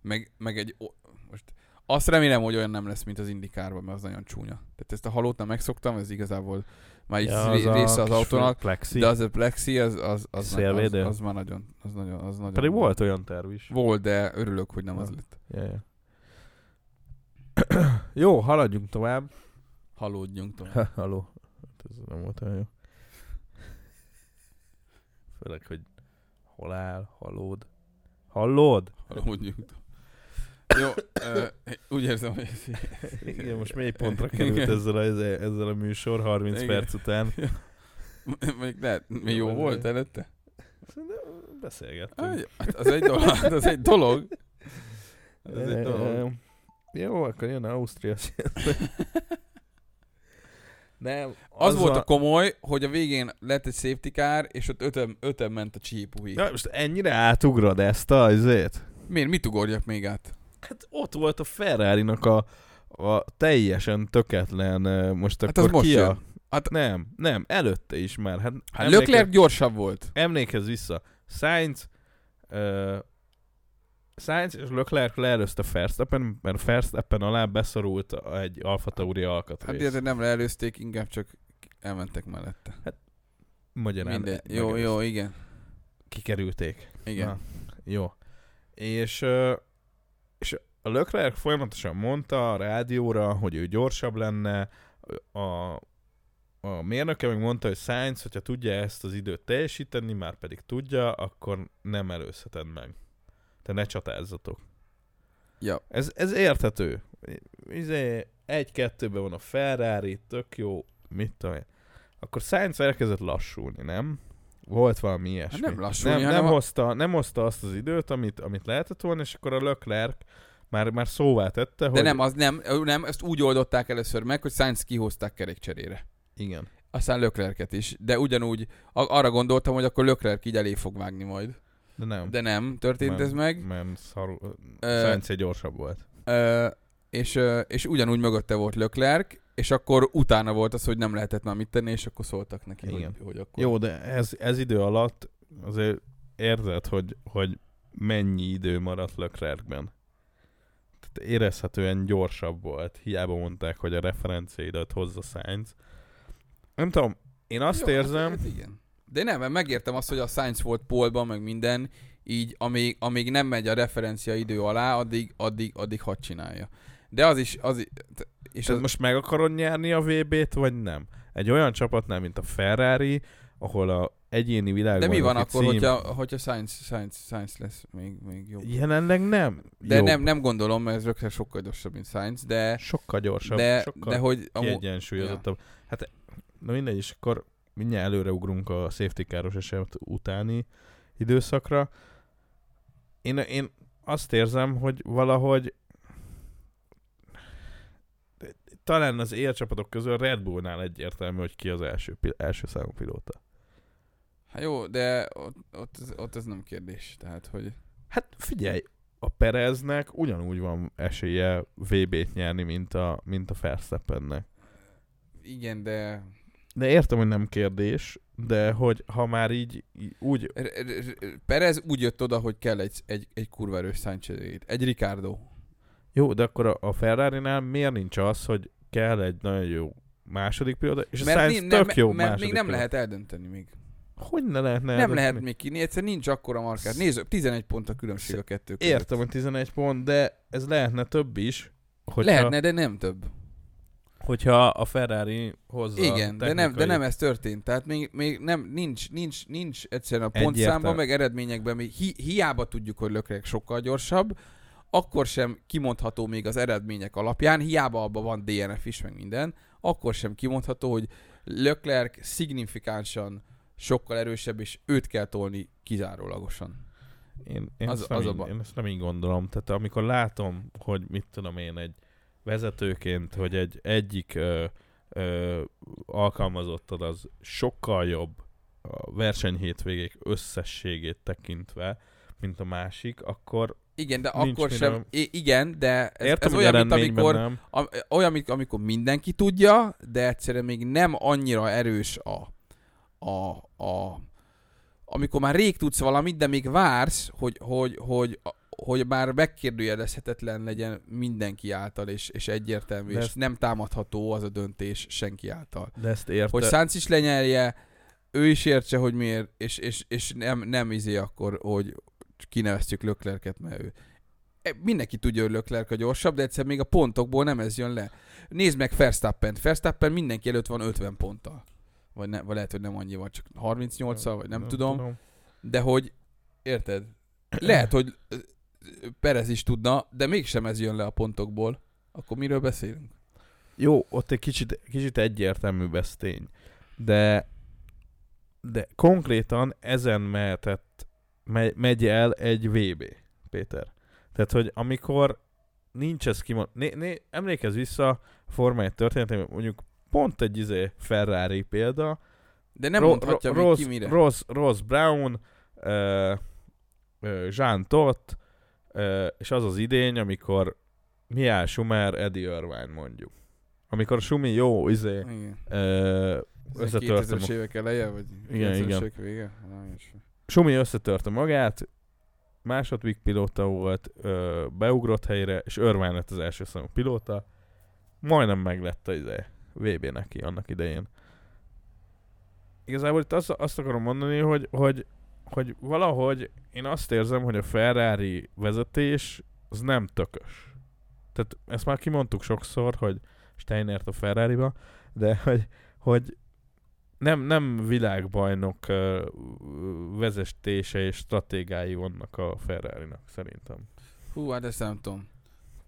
Speaker 2: Meg, meg egy... o- Most azt remélem, hogy olyan nem lesz, mint az indikárban, mert az nagyon csúnya. Tehát ezt a halót nem megszoktam, ez igazából már egy ja, része az
Speaker 1: kis
Speaker 2: autónak,
Speaker 1: Plexi.
Speaker 2: de az a plexi, az, az, az, az, az,
Speaker 1: Szélvédő?
Speaker 2: az, már nagyon, az nagyon, az nagyon...
Speaker 1: Pedig volt olyan terv is.
Speaker 2: Volt, de örülök, hogy nem az
Speaker 1: Ja.
Speaker 2: lett.
Speaker 1: Yeah, yeah. jó, haladjunk tovább.
Speaker 2: Halódjunk tovább.
Speaker 1: Ha, Haló. Hát Ez nem volt olyan jó. Főleg, hogy hol áll, halód. Hallod?
Speaker 2: Halódjunk tovább. Jó, ö, úgy érzem, hogy ez így-
Speaker 1: Igen, most mély pontra került ezzel a, ezzel a műsor 30
Speaker 2: Igen.
Speaker 1: perc után.
Speaker 2: Még lehet, még jó volt előtte?
Speaker 1: Szerintem Beszélgettünk.
Speaker 2: Aj, Hát az egy dolog. hát Az egy dolog. Hát Az egy dolog.
Speaker 1: Ehm, Jó, akkor jön Ausztria. Nem.
Speaker 2: Az, volt a komoly, hogy a végén lett egy safety car, és ott ötem, ötem ment a csípúi.
Speaker 1: Ja, most ennyire átugrod ezt a izét?
Speaker 2: Miért? Mit ugorjak még át?
Speaker 1: Hát ott volt a ferrari a, a teljesen töketlen, ö, most
Speaker 2: Hát
Speaker 1: akkor
Speaker 2: az most
Speaker 1: ki a...
Speaker 2: jön.
Speaker 1: Hát nem, nem, előtte is már. Hát,
Speaker 2: Hát Leclerc gyorsabb volt.
Speaker 1: emlékezz vissza. Sainz, uh, Sainz és Leclerc leelőzte Verstappen, mert Verstappen alá beszorult a- egy Alfa Tauri
Speaker 2: Hát
Speaker 1: alkatrész.
Speaker 2: de nem leelőzték, inkább csak elmentek mellette.
Speaker 1: Magyarán
Speaker 2: Minden.
Speaker 1: meg-
Speaker 2: Jó,
Speaker 1: meg-
Speaker 2: jó, igen.
Speaker 1: Kikerülték.
Speaker 2: Igen.
Speaker 1: Na, jó. És, ö, és a Leclerc folyamatosan mondta a rádióra, hogy ő gyorsabb lenne, a, a mérnöke meg mondta, hogy Sainz, hogyha tudja ezt az időt teljesíteni, már pedig tudja, akkor nem előzheted meg. Te ne csatázzatok.
Speaker 2: Ja.
Speaker 1: Ez, ez érthető. Izé, egy-kettőben van a Ferrari, tök jó, mit tudom én. Akkor Sainz elkezdett lassulni, nem? Volt valami ilyesmi.
Speaker 2: Hát nem lassulni,
Speaker 1: nem,
Speaker 2: hanem
Speaker 1: nem,
Speaker 2: a-
Speaker 1: hozta, nem hozta azt az időt, amit, amit lehetett volna, és akkor a Leclerc már, már szóvá tette,
Speaker 2: De
Speaker 1: hogy...
Speaker 2: nem, az nem, ö, nem, ezt úgy oldották először meg, hogy Sainz kihozták kerékcserére.
Speaker 1: Igen.
Speaker 2: Aztán Löklerket is. De ugyanúgy a- arra gondoltam, hogy akkor Löklerk így elé fog vágni majd.
Speaker 1: De nem.
Speaker 2: De nem, történt
Speaker 1: Nem.
Speaker 2: ez meg.
Speaker 1: Mert szarul...
Speaker 2: Ö,
Speaker 1: Sainz gyorsabb volt.
Speaker 2: Ö, és, ö, és ugyanúgy mögötte volt Löklerk, és akkor utána volt az, hogy nem lehetett már mit tenni, és akkor szóltak neki, hogy,
Speaker 1: Igen.
Speaker 2: hogy akkor...
Speaker 1: Jó, de ez, ez idő alatt azért érzed, hogy, hogy mennyi idő maradt Leclercben. Tehát érezhetően gyorsabb volt. Hiába mondták, hogy a referenciáidat hozza Sainz. Nem tudom, én azt
Speaker 2: Jó, hát-
Speaker 1: érzem,
Speaker 2: Hát, igen. De nem, mert megértem azt, hogy a Science volt polban, meg minden, így amíg, amíg nem megy a referencia idő alá, addig, addig, addig hadd csinálja. De az is, az i- t- és
Speaker 1: És ez
Speaker 2: az,
Speaker 1: most meg akarod nyerni a VB-t, vagy nem? Egy olyan csapatnál, mint a Ferrari, ahol a egyéni világban
Speaker 2: de mi van
Speaker 1: aki
Speaker 2: akkor,
Speaker 1: cím-
Speaker 2: hogyha, hogyha science, science, science lesz még, még jobb?
Speaker 1: Jelenleg nem.
Speaker 2: De
Speaker 1: Jobb.
Speaker 2: nem, nem gondolom, mert ez rögtön sokkal gyorsabb, mint Science, de,
Speaker 1: Sokkal gyorsabb,
Speaker 2: de,
Speaker 1: sokkal
Speaker 2: de hogy amú,
Speaker 1: kiegyensúlyozottabb. Hát, na mindegy, és akkor mindjárt előreugrunk a safety káros eset utáni időszakra. Én, én azt érzem, hogy valahogy talán az élcsapatok közül a Red Bullnál egyértelmű, hogy ki az első, pi- első számú pilóta.
Speaker 2: hát jó, de ott, ott, ez- ott, ez nem kérdés, tehát hogy
Speaker 1: Hát figyelj, a Pereznek ugyanúgy van esélye VB-t nyerni, mint a, mint a Verstappennek.
Speaker 2: igen, de
Speaker 1: De értem, hogy nem kérdés, de hogy ha már így í- úgy...
Speaker 2: R- R- R- Perez úgy jött oda, hogy kell egy, egy, egy kurva erős Sánchez egy Ricardo.
Speaker 1: Jó, de akkor a, a Ferrari-nál miért nincs az, hogy kell egy nagyon jó második pilóta, és a Sainz
Speaker 2: nem-
Speaker 1: tök
Speaker 2: mert-
Speaker 1: jó
Speaker 2: mert még
Speaker 1: második
Speaker 2: nem
Speaker 1: pilóta.
Speaker 2: lehet eldönteni még.
Speaker 1: Hogy ne lehetne?
Speaker 2: Nem,
Speaker 1: eldönteni?
Speaker 2: lehet még ki, egyszer nincs akkora markát. Nézd, 11 pont a különbség a kettő között.
Speaker 1: Értem, hogy 11 pont, de ez lehetne több is, hogyha,
Speaker 2: Lehetne, de nem több.
Speaker 1: hogyha a Ferrari hozza a
Speaker 2: Igen, de nem, de
Speaker 1: technikai-
Speaker 2: nem ez történt. Tehát még, még nem, nincs, nincs, nincs egyszerűen a
Speaker 1: Egyértelmű.
Speaker 2: pontszámban, meg eredményekben, még hi, hiába tudjuk, hogy lökrek sokkal gyorsabb, akkor sem kimondható még az eredmények alapján, hiába abban van DNF is, meg minden, akkor sem kimondható, hogy Leclerc szignifikánsan sokkal erősebb, és őt kell tolni kizárólagosan.
Speaker 1: Én, én,
Speaker 2: Az-
Speaker 1: az, ezt nem
Speaker 2: az
Speaker 1: az
Speaker 2: a
Speaker 1: így,
Speaker 2: baj.
Speaker 1: én ezt nem így gondolom. Tehát amikor látom, hogy mit tudom én egy vezetőként, hogy egy egyik ö, ö, alkalmazottad az sokkal jobb a versenyhétvégék összességét tekintve, mint a másik, akkor
Speaker 2: Igen, de
Speaker 1: Nincs
Speaker 2: akkor
Speaker 1: miről.
Speaker 2: sem... I- igen, de ez,
Speaker 1: értem,
Speaker 2: ez
Speaker 1: hogy
Speaker 2: olyan, mint
Speaker 1: eredményben
Speaker 2: amikor...
Speaker 1: nem.
Speaker 2: Am- olyan, amik- amikor mindenki tudja, de egyszerűen még nem annyira erős a, a, a amikor már rég tudsz valamit, de még vársz, hogy, hogy, hogy, hogy már megkérdőjelezhetetlen legyen mindenki által, és, és egyértelmű,
Speaker 1: De
Speaker 2: és
Speaker 1: ezt-
Speaker 2: nem támadható az a döntés senki által.
Speaker 1: De ezt értem.
Speaker 2: Hogy Szánc is lenyelje, ő is értse, hogy miért, és, és, és nem, nem izé akkor, hogy kineveztjük Löklerket, mert ő. E, Mindenki tudja, hogy Löklerk a gyorsabb, de egyszer még a pontokból nem ez jön le. Nézd meg Verstappent. Verstappen mindenki előtt van 50 ponttal. Vagy, ne, vagy lehet, hogy nem annyival, csak 38-al, vagy nem, tudom. De hogy, érted? Lehet, hogy ö, ö, Perez is tudna, de mégsem ez jön le a pontokból. Akkor miről beszélünk?
Speaker 1: Jó, ott egy kicsit, kicsit egyértelmű ez tény. De, de konkrétan ezen mehetett, megy, megy el egy VB, Péter. Tehát, hogy amikor nincs ez kimond... Né, né, emlékezz vissza a Forma 1 történetében, mondjuk pont egy izé Ferrari példa.
Speaker 2: De nem
Speaker 1: Ro-
Speaker 2: mondhatja
Speaker 1: Ro-
Speaker 2: még
Speaker 1: Ross,
Speaker 2: ki mire.
Speaker 1: Ross, Ross Brown, ö, ö, Jean Tott, ö, és az az idény, amikor Mihály Schumer, Eddie Irvine mondjuk. Amikor Sumi jó, izé,
Speaker 2: Igen.
Speaker 1: ö,
Speaker 2: Ez a
Speaker 1: összetörte
Speaker 2: 2000-es
Speaker 1: ma-
Speaker 2: évek eleje, vagy
Speaker 1: Igen,
Speaker 2: 90-es
Speaker 1: igen.
Speaker 2: évek vége? Nem, is.
Speaker 1: Sumi összetörte magát, második pilóta volt, ö, beugrott helyre, és Irvine lett az első számú pilóta. Majdnem meglett az izé, VB neki annak idején. Igazából itt azt, azt akarom mondani, hogy, hogy, hogy valahogy én azt érzem, hogy a Ferrari vezetés az nem tökös. tehát ezt már kimondtuk sokszor, hogy Steinert a ferrari de hogy, hogy nem, nem világbajnok ö, vezetése és stratégái vannak a Ferrari-nak, szerintem.
Speaker 2: Hú, hát ezt nem tudom.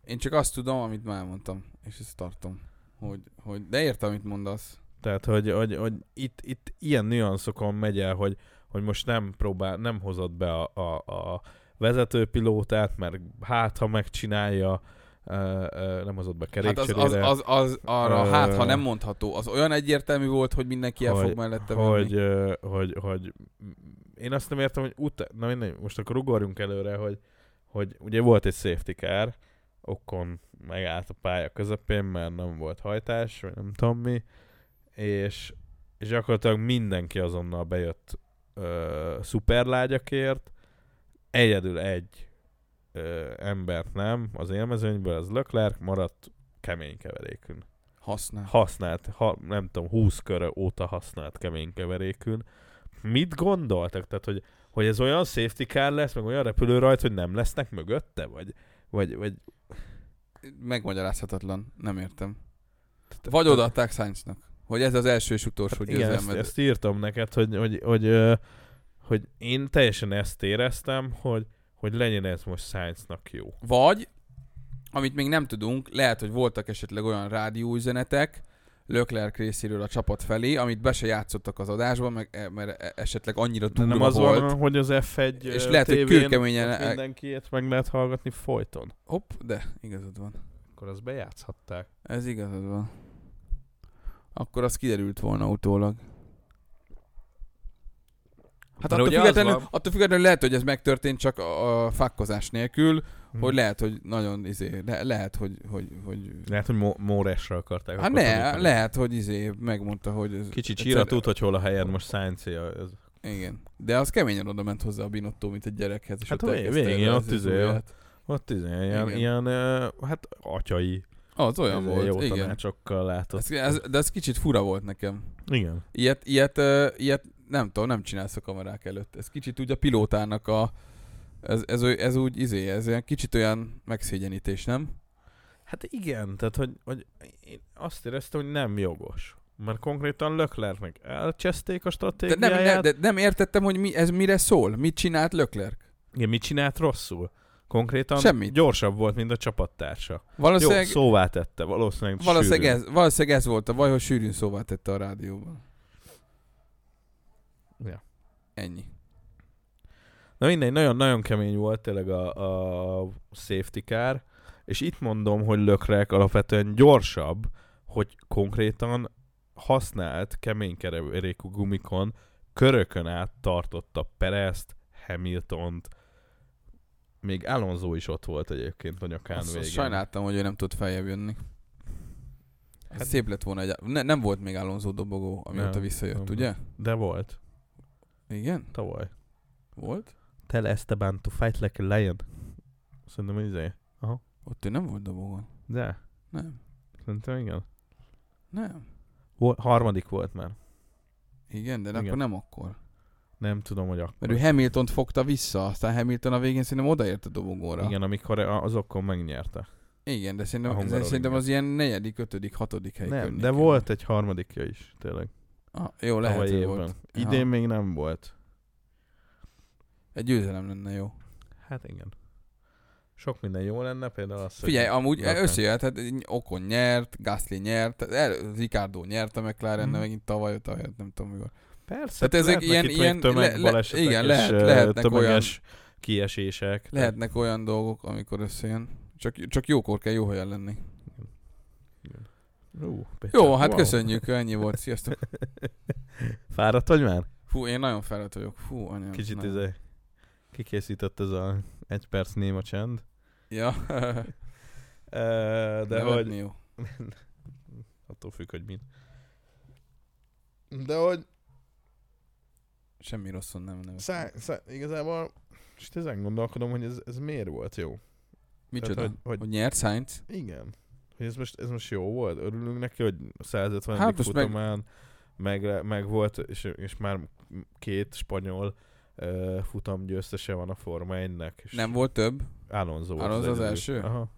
Speaker 2: Én csak azt tudom, amit már mondtam, és ezt tartom. Hogy, hogy de értem, amit mondasz.
Speaker 1: Tehát, hogy, hogy, hogy itt, itt ilyen nüanszokon megy el, hogy, hogy most nem próbál, nem hozott be a, a, a vezetőpilótát, mert hát, ha megcsinálja, ö, ö, nem hozott be
Speaker 2: Hát az, az,
Speaker 1: kerékcserére.
Speaker 2: az, az arra,
Speaker 1: Ö,
Speaker 2: hát ha nem mondható, az olyan egyértelmű volt, hogy mindenki el fog mellette
Speaker 1: hogy,
Speaker 2: venni.
Speaker 1: ö, hogy, hogy, én azt nem értem, hogy utána, na mindegy, most akkor ugorjunk előre, hogy, hogy ugye volt egy safety car, Okon megállt a pálya közepén, mert nem volt hajtás, vagy nem tudom mi, és, és gyakorlatilag mindenki azonnal bejött ö, szuperlágyakért, egyedül egy ö, embert nem, az élmezőnyből, az Leclerc maradt kemény keverékű
Speaker 2: Használ.
Speaker 1: használt, ha, nem tudom, 20 kör óta használt kemény keverékűn. Mit gondoltak? Tehát, hogy, hogy ez olyan safety car lesz, meg olyan repülő rajt, hogy nem lesznek mögötte? Vagy, vagy, vagy
Speaker 2: Megmagyarázhatatlan, nem értem. Vagy odaadták Sainznak, hogy ez az első és utolsó
Speaker 1: Hát igen, ezt,
Speaker 2: győzelmed.
Speaker 1: ezt, írtam neked, hogy, hogy, hogy, ö, hogy én teljesen ezt éreztem, hogy, hogy legyen ez most Science-nak jó.
Speaker 2: Vagy, amit még nem tudunk, lehet, hogy voltak esetleg olyan rádióüzenetek Leclerc részéről a csapat felé, amit be se játszottak az adásban, meg, e- mert e- esetleg annyira
Speaker 1: De
Speaker 2: durva
Speaker 1: nem az
Speaker 2: volt.
Speaker 1: van, hogy az F1
Speaker 2: És
Speaker 1: ö,
Speaker 2: lehet, hogy e-
Speaker 1: tévén
Speaker 2: kőkeményen-
Speaker 1: ott mindenkiét meg lehet hallgatni folyton.
Speaker 2: Hopp, de igazad van.
Speaker 1: Akkor azt bejátszhatták.
Speaker 2: Ez igazad van. Akkor az kiderült volna utólag. Hát
Speaker 1: De
Speaker 2: attól
Speaker 1: ugye az
Speaker 2: függetlenül,
Speaker 1: van-
Speaker 2: attól függetlenül lehet, hogy ez megtörtént csak a, a fákkozás nélkül,
Speaker 1: Hm.
Speaker 2: hogy lehet, hogy nagyon izé, le, lehet, hogy, hogy, hogy
Speaker 1: Lehet, hogy Mo- Móresra akarták.
Speaker 2: Hát
Speaker 1: akkor
Speaker 2: ne,
Speaker 1: tanítani.
Speaker 2: lehet, hogy izé megmondta, hogy ez...
Speaker 1: Kicsi
Speaker 2: egyszer-
Speaker 1: csíra tud, hogy hol a helyed most science ez.
Speaker 2: Igen. De az keményen oda ment hozzá a Binotto, mint egy gyerekhez. És
Speaker 1: Hát
Speaker 2: ott
Speaker 1: a
Speaker 2: elkezdte
Speaker 1: végén
Speaker 2: el-
Speaker 1: ott
Speaker 2: az
Speaker 1: izé,
Speaker 2: ujját.
Speaker 1: Ott izé, ilyen,
Speaker 2: Igen.
Speaker 1: ilyen ö, hát atyai
Speaker 2: Az olyan
Speaker 1: izé,
Speaker 2: volt,
Speaker 1: jó
Speaker 2: igen.
Speaker 1: tanácsokkal látott.
Speaker 2: Ez, ez, de ez kicsit fura volt nekem.
Speaker 1: Igen.
Speaker 2: Ilyet, ilyet, ö, ilyet nem tudom, nem csinálsz a kamerák előtt. Ez kicsit úgy a pilótának a... Ez, ez, oly- ez úgy izé, ez olyan kicsit olyan megszégyenítés, nem?
Speaker 1: Hát igen, tehát hogy, hogy én azt éreztem, hogy nem jogos. Mert konkrétan Löklernek elcseszték a
Speaker 2: De
Speaker 1: stratégiáját.
Speaker 2: nem, nem, de nem értettem, hogy mi, ez mire szól, mit csinált Leclerc.
Speaker 1: Igen, mit csinált rosszul? Konkrétan
Speaker 2: Semmit.
Speaker 1: gyorsabb volt, mint a csapattársa. Jó,
Speaker 2: Valószínűleg,
Speaker 1: szóvá tette, valószínűleg
Speaker 2: valószínűleg,
Speaker 1: sűrűn.
Speaker 2: ez, valószínűleg ez volt a baj, hogy sűrűn szóvá tette a rádióban.
Speaker 1: Ja.
Speaker 2: Ennyi.
Speaker 1: Na mindegy, nagyon-nagyon kemény volt tényleg a, a safety car, és itt mondom, hogy lökrek alapvetően gyorsabb, hogy konkrétan használt kemény kerékú gumikon körökön át tartotta Perezt, Hamiltont, még Alonso is ott volt egyébként a nyakán
Speaker 2: Azt,
Speaker 1: végén.
Speaker 2: azt sajnáltam, hogy ő nem tud feljebb jönni. Hát,
Speaker 1: Hát-
Speaker 2: szép lett volna egy... Ne, nem volt még Alonso dobogó, amióta
Speaker 1: Nem,
Speaker 2: visszajött,
Speaker 1: nem
Speaker 2: ugye?
Speaker 1: De volt,
Speaker 2: Igen?
Speaker 1: tavaly.
Speaker 2: Volt?
Speaker 1: Tell Esteban to fight like a lion. Szerintem izé.
Speaker 2: Ott ő nem volt dobogón.
Speaker 1: De,
Speaker 2: Nem.
Speaker 1: szerintem igen.
Speaker 2: Nem.
Speaker 1: Vol- harmadik volt már.
Speaker 2: Igen, de
Speaker 1: Igen.
Speaker 2: akkor nem akkor.
Speaker 1: Nem tudom, hogy akkor.
Speaker 2: Mert ő Hamiltont fogta vissza, aztán Hamilton a végén szerintem odaért a dobogóra.
Speaker 1: Igen, amikor a- az okkon megnyerte.
Speaker 2: Igen de
Speaker 1: A
Speaker 2: szerintem,
Speaker 1: Hungaroringen.
Speaker 2: szerintem az ilyen negyedik, ötödik, hatodik hely
Speaker 1: Nem, de
Speaker 2: környékén.
Speaker 1: volt egy harmadikja is, tényleg.
Speaker 2: Ah, jó, lehet,
Speaker 1: Lehet,
Speaker 2: hogy
Speaker 1: évben.
Speaker 2: volt.
Speaker 1: Idén
Speaker 2: Aha.
Speaker 1: még nem volt.
Speaker 2: Egy győzelem lenne jó.
Speaker 1: Hát igen. Sok minden jó lenne, például az,
Speaker 2: Figyelj, amúgy
Speaker 1: Lakán.
Speaker 2: összejöhet, hát Okon nyert, Gasly nyert, el, Ricardo nyert a mclaren
Speaker 1: Mhm.
Speaker 2: mm. megint tavaly, tavaly, nem tudom mikor.
Speaker 1: Persze,
Speaker 2: tehát ezek
Speaker 1: lehetnek
Speaker 2: ilyen-
Speaker 1: itt még
Speaker 2: ilyen-
Speaker 1: tömegbalesetek
Speaker 2: le- igen,
Speaker 1: és,
Speaker 2: lehet-
Speaker 1: ö,
Speaker 2: lehetnek
Speaker 1: tömeges kiesések.
Speaker 2: Lehetnek olyan dolgok, amikor összejön. Csak, csak jókor kell jó helyen lenni.
Speaker 1: Ú, Péter,
Speaker 2: Jó, hát
Speaker 1: wow.
Speaker 2: köszönjük, ennyi volt, sziasztok.
Speaker 1: Fáradt vagy már?
Speaker 2: Fú, én nagyon felett vagyok. Fú, anyám.
Speaker 1: Kicsit izé-
Speaker 2: nagyon.
Speaker 1: ez a... kikészített ez a egy perc néma csend.
Speaker 2: Ja,
Speaker 1: Ö,
Speaker 2: de
Speaker 1: De hogy...
Speaker 2: hogy... jó.
Speaker 1: Attól függ, hogy mit. De hogy
Speaker 2: Semmi rosszon nem nem.
Speaker 1: Szá, szá, igazából most ezen gondolkodom, hogy ez, ez miért volt jó.
Speaker 2: Micsoda?
Speaker 1: Tehát,
Speaker 2: hogy,
Speaker 1: hogy- hogy-
Speaker 2: hogy, nyert Sainz?
Speaker 1: Igen. Hogy ez most, ez most jó volt? Örülünk neki, hogy a 150.
Speaker 2: Hát
Speaker 1: Hát
Speaker 2: most meg-
Speaker 1: futamán meg... Meg, meg volt, és, és már két spanyol uh, futam győztese van a Forma 1-nek. és
Speaker 2: Nem volt több?
Speaker 1: Alonso, volt
Speaker 2: Alonso az
Speaker 1: egyedül.
Speaker 2: első?
Speaker 1: Aha.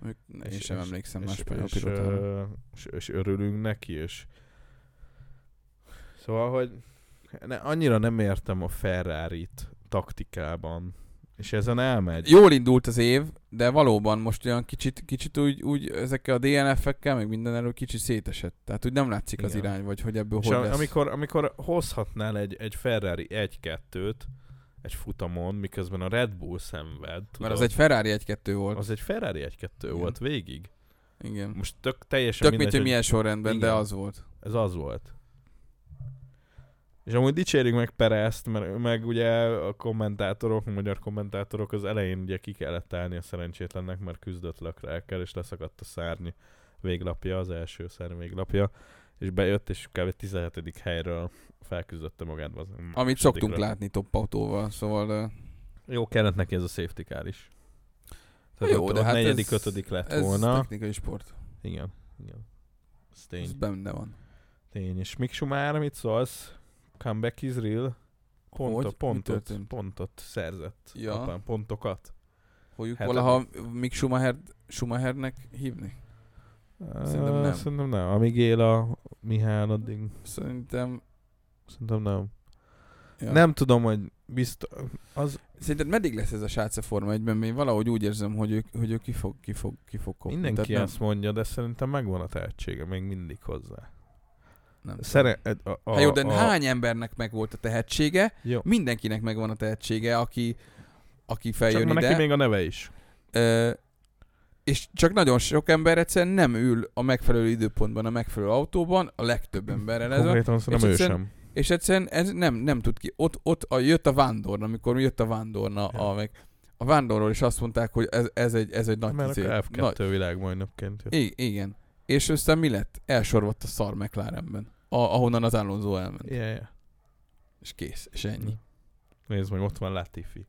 Speaker 2: Mondjuk ne,
Speaker 1: És-
Speaker 2: Én sem
Speaker 1: és-
Speaker 2: emlékszem más
Speaker 1: és,
Speaker 2: spanyol
Speaker 1: és, és,
Speaker 2: pilotára.
Speaker 1: ö, és, és, örülünk neki, és szóval, hogy ne, annyira nem értem a ferrari taktikában, és ezen elmegy.
Speaker 2: Jól indult az év, de valóban most olyan kicsit, kicsit úgy, úgy ezekkel a DNF-ekkel, meg minden elő kicsit szétesett. Tehát úgy nem látszik az
Speaker 1: Igen.
Speaker 2: irány, vagy hogy ebből
Speaker 1: és
Speaker 2: hogy
Speaker 1: am-
Speaker 2: lesz.
Speaker 1: amikor, amikor hozhatnál egy, egy Ferrari 1-2-t egy futamon, miközben a Red Bull szenved, tudod,
Speaker 2: Mert az egy Ferrari 1-2 volt.
Speaker 1: az egy Ferrari 1-2
Speaker 2: Igen.
Speaker 1: volt végig.
Speaker 2: Igen.
Speaker 1: Most tök teljesen
Speaker 2: Tök mindegy, hogy milyen sorrendben, de
Speaker 1: Igen.
Speaker 2: az volt.
Speaker 1: Ez az volt. És amúgy dicsérjük meg Perezt, mert ő meg ugye a kommentátorok, a magyar kommentátorok az elején ugye ki kellett állni a szerencsétlennek, mert küzdött lökrákkel, és leszakadt a szárny véglapja, az első szárny véglapja, és bejött, és kb. 17. helyről felküzdötte magát. Az
Speaker 2: Amit szoktunk látni top autóval, szóval ö,
Speaker 1: Jó, kellett neki ez a safety car is. Tehát
Speaker 2: Jó,
Speaker 1: jó, ott,
Speaker 2: de
Speaker 1: ott
Speaker 2: hát
Speaker 1: negyedik,
Speaker 2: ez-
Speaker 1: ötödik lett
Speaker 2: ez
Speaker 1: volna.
Speaker 2: technikai sport.
Speaker 1: Igen, igen. Ez tény.
Speaker 2: Ez benne van.
Speaker 1: Tény, és Mik Schumacher, mit szólsz? Comeback is real. Pontot,
Speaker 2: Hogy? Mi
Speaker 1: pontot,
Speaker 2: történt?
Speaker 1: pontot szerzett.
Speaker 2: Ja.
Speaker 1: Apám, pontokat.
Speaker 2: Fogjuk
Speaker 1: Heted.
Speaker 2: valaha Mick Schumacher, Schumachernek hívni? Szerintem
Speaker 1: Ö,
Speaker 2: nem.
Speaker 1: Szerintem nem. Amíg él a Mihály, addig
Speaker 2: Szerintem...
Speaker 1: szerintem nem.
Speaker 2: Ja.
Speaker 1: Nem tudom, hogy biztos... Az
Speaker 2: Szerinted meddig lesz ez a sráce Forma 1 Én valahogy úgy érzem, hogy ő, hogy ő ki, fog, ki, fog, ki fog kopni.
Speaker 1: mindenki
Speaker 2: Tehát
Speaker 1: ezt mondja, de szerintem megvan a tehetsége még mindig hozzá.
Speaker 2: nem, nem.
Speaker 1: Szere... A, a,
Speaker 2: Hát jó, de
Speaker 1: a,
Speaker 2: hány embernek megvolt a tehetsége?
Speaker 1: Jó.
Speaker 2: Mindenkinek megvan a tehetsége, aki, aki
Speaker 1: Csak
Speaker 2: feljön
Speaker 1: ma
Speaker 2: ide.
Speaker 1: neki még a neve is.
Speaker 2: Ö, és csak nagyon sok ember egyszerűen nem ül a megfelelő időpontban, a megfelelő autóban, a legtöbb emberrel ez van,
Speaker 1: Konkrétan szerintem ő
Speaker 2: és egyszerűen-
Speaker 1: sem.
Speaker 2: és egyszerűen ez nem, nem tud ki. Ott, ott a, jött a vándorna, amikor jött a vándorna, a, meg, a vándorról is azt mondták, hogy ez, ez, egy, ez egy nagy
Speaker 1: Mert
Speaker 2: izé,
Speaker 1: akkor
Speaker 2: nagy,
Speaker 1: F2 világbajnokként jött.
Speaker 2: I- igen. És aztán mi lett? Elsorvadt a szar McLarenben, a, ahonnan az Alonso elment.
Speaker 1: Yeah, yeah.
Speaker 2: És kész, és ennyi.
Speaker 1: Nézd meg, ott van Latifi.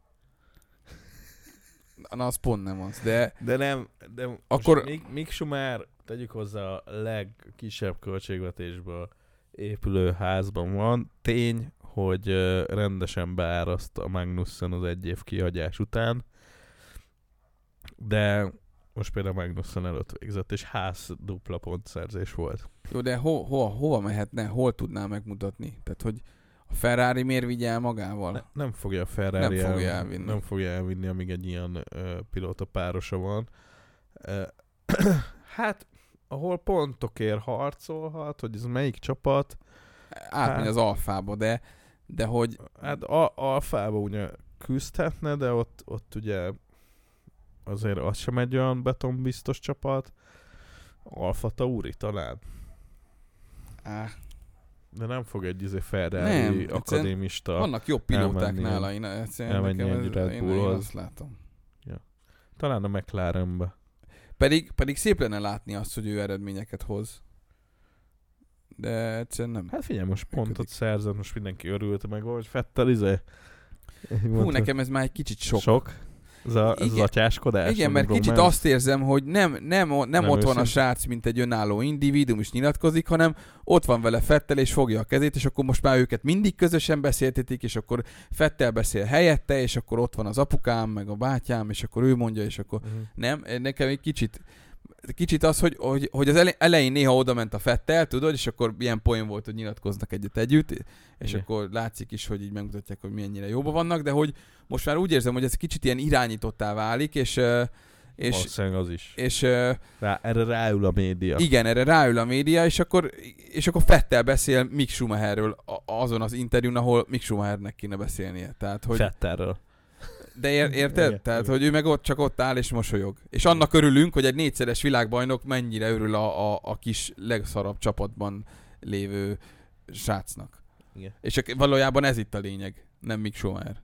Speaker 2: Na, az pont nem az, de
Speaker 1: De nem, de
Speaker 2: Akkor-
Speaker 1: akkor... Mik, Mik Schumer, tegyük hozzá a legkisebb költségvetésből épülő házban van. Tény, hogy ö, rendesen beáraszt a Magnussen az egy év kihagyás után, de most például Magnussen előtt végzett, és ház dupla pontszerzés volt.
Speaker 2: jó, de ho, ho, hova mehetne, hol tudná megmutatni? Tehát, hogy a Ferrari miért vigyel magával?
Speaker 1: Ne, nem fogja a Ferrari
Speaker 2: Nem fogja
Speaker 1: el-
Speaker 2: elvinni.
Speaker 1: Nem fogja elvinni, amíg egy ilyen ö, pilóta párosa van. Ö, hát, ahol pontokért harcolhat, hogy ez melyik csapat,
Speaker 2: Átmegy
Speaker 1: Hát.
Speaker 2: az alfába, de, de hogy
Speaker 1: hát a, alfába ugye küzdhetne, de ott, ott ugye azért az sem egy olyan betonbiztos csapat. Alfa Tauri talán.
Speaker 2: á,
Speaker 1: De nem fog egy izé Ferrari
Speaker 2: Nem,
Speaker 1: akadémista.
Speaker 2: vannak jobb pilóták
Speaker 1: elmenni-
Speaker 2: nála, én, egyszerűen
Speaker 1: elmenni
Speaker 2: nekem
Speaker 1: egy
Speaker 2: ez-
Speaker 1: Red
Speaker 2: én, én
Speaker 1: Bullhoz.
Speaker 2: azt látom.
Speaker 1: Talán a McLarenbe.
Speaker 2: Pedig, pedig szép lenne látni azt, hogy ő eredményeket hoz. De egyszerűen nem.
Speaker 1: Hát figyelj, most
Speaker 2: Működik.
Speaker 1: pontot szerzett, most mindenki örült meg, hogy Fettel izé.
Speaker 2: Hú, nekem ez már egy kicsit sok.
Speaker 1: Sok? Ez, a, ez az
Speaker 2: Igen.
Speaker 1: atyáskodás?
Speaker 2: Igen,
Speaker 1: a
Speaker 2: mert kicsit
Speaker 1: bromance?
Speaker 2: azt érzem, hogy nem, nem, nem, nem ott van a
Speaker 1: őszinte.
Speaker 2: srác, mint egy önálló individuum, és nyilatkozik, hanem ott van vele Fettel, és fogja a kezét, és akkor most már őket mindig közösen beszéltetik, és akkor Fettel beszél helyette, és akkor ott van az apukám, meg a bátyám, és akkor ő mondja, és akkor
Speaker 1: Mhm.
Speaker 2: nem, nekem egy kicsit kicsit az, hogy, hogy, hogy az ele- elején néha oda ment a Fettel, tudod, és akkor ilyen poén volt, hogy nyilatkoznak egyet együtt, és
Speaker 1: Igen.
Speaker 2: akkor látszik is, hogy így megmutatják, hogy mennyire jóban vannak, de hogy most már úgy érzem, hogy ez kicsit ilyen irányítottá válik, és ö, és,
Speaker 1: Valószínűleg az is.
Speaker 2: és ö,
Speaker 1: Rá, erre ráül a média.
Speaker 2: igen, erre ráül a média, és akkor, és akkor Fettel beszél Mick Schumacherről a- azon az interjún, ahol Mick Schumachernek kéne beszélnie. Tehát, hogy,
Speaker 1: Fettelről.
Speaker 2: de ér, érted?
Speaker 1: Igen,
Speaker 2: Tehát,
Speaker 1: igen.
Speaker 2: hogy ő meg ott csak ott áll és mosolyog. És annak örülünk, hogy egy négyszeres világbajnok mennyire örül a, a, a kis legszarabb csapatban lévő srácnak.
Speaker 1: Igen.
Speaker 2: És ak- valójában ez itt a lényeg, nem Mick Schumacher.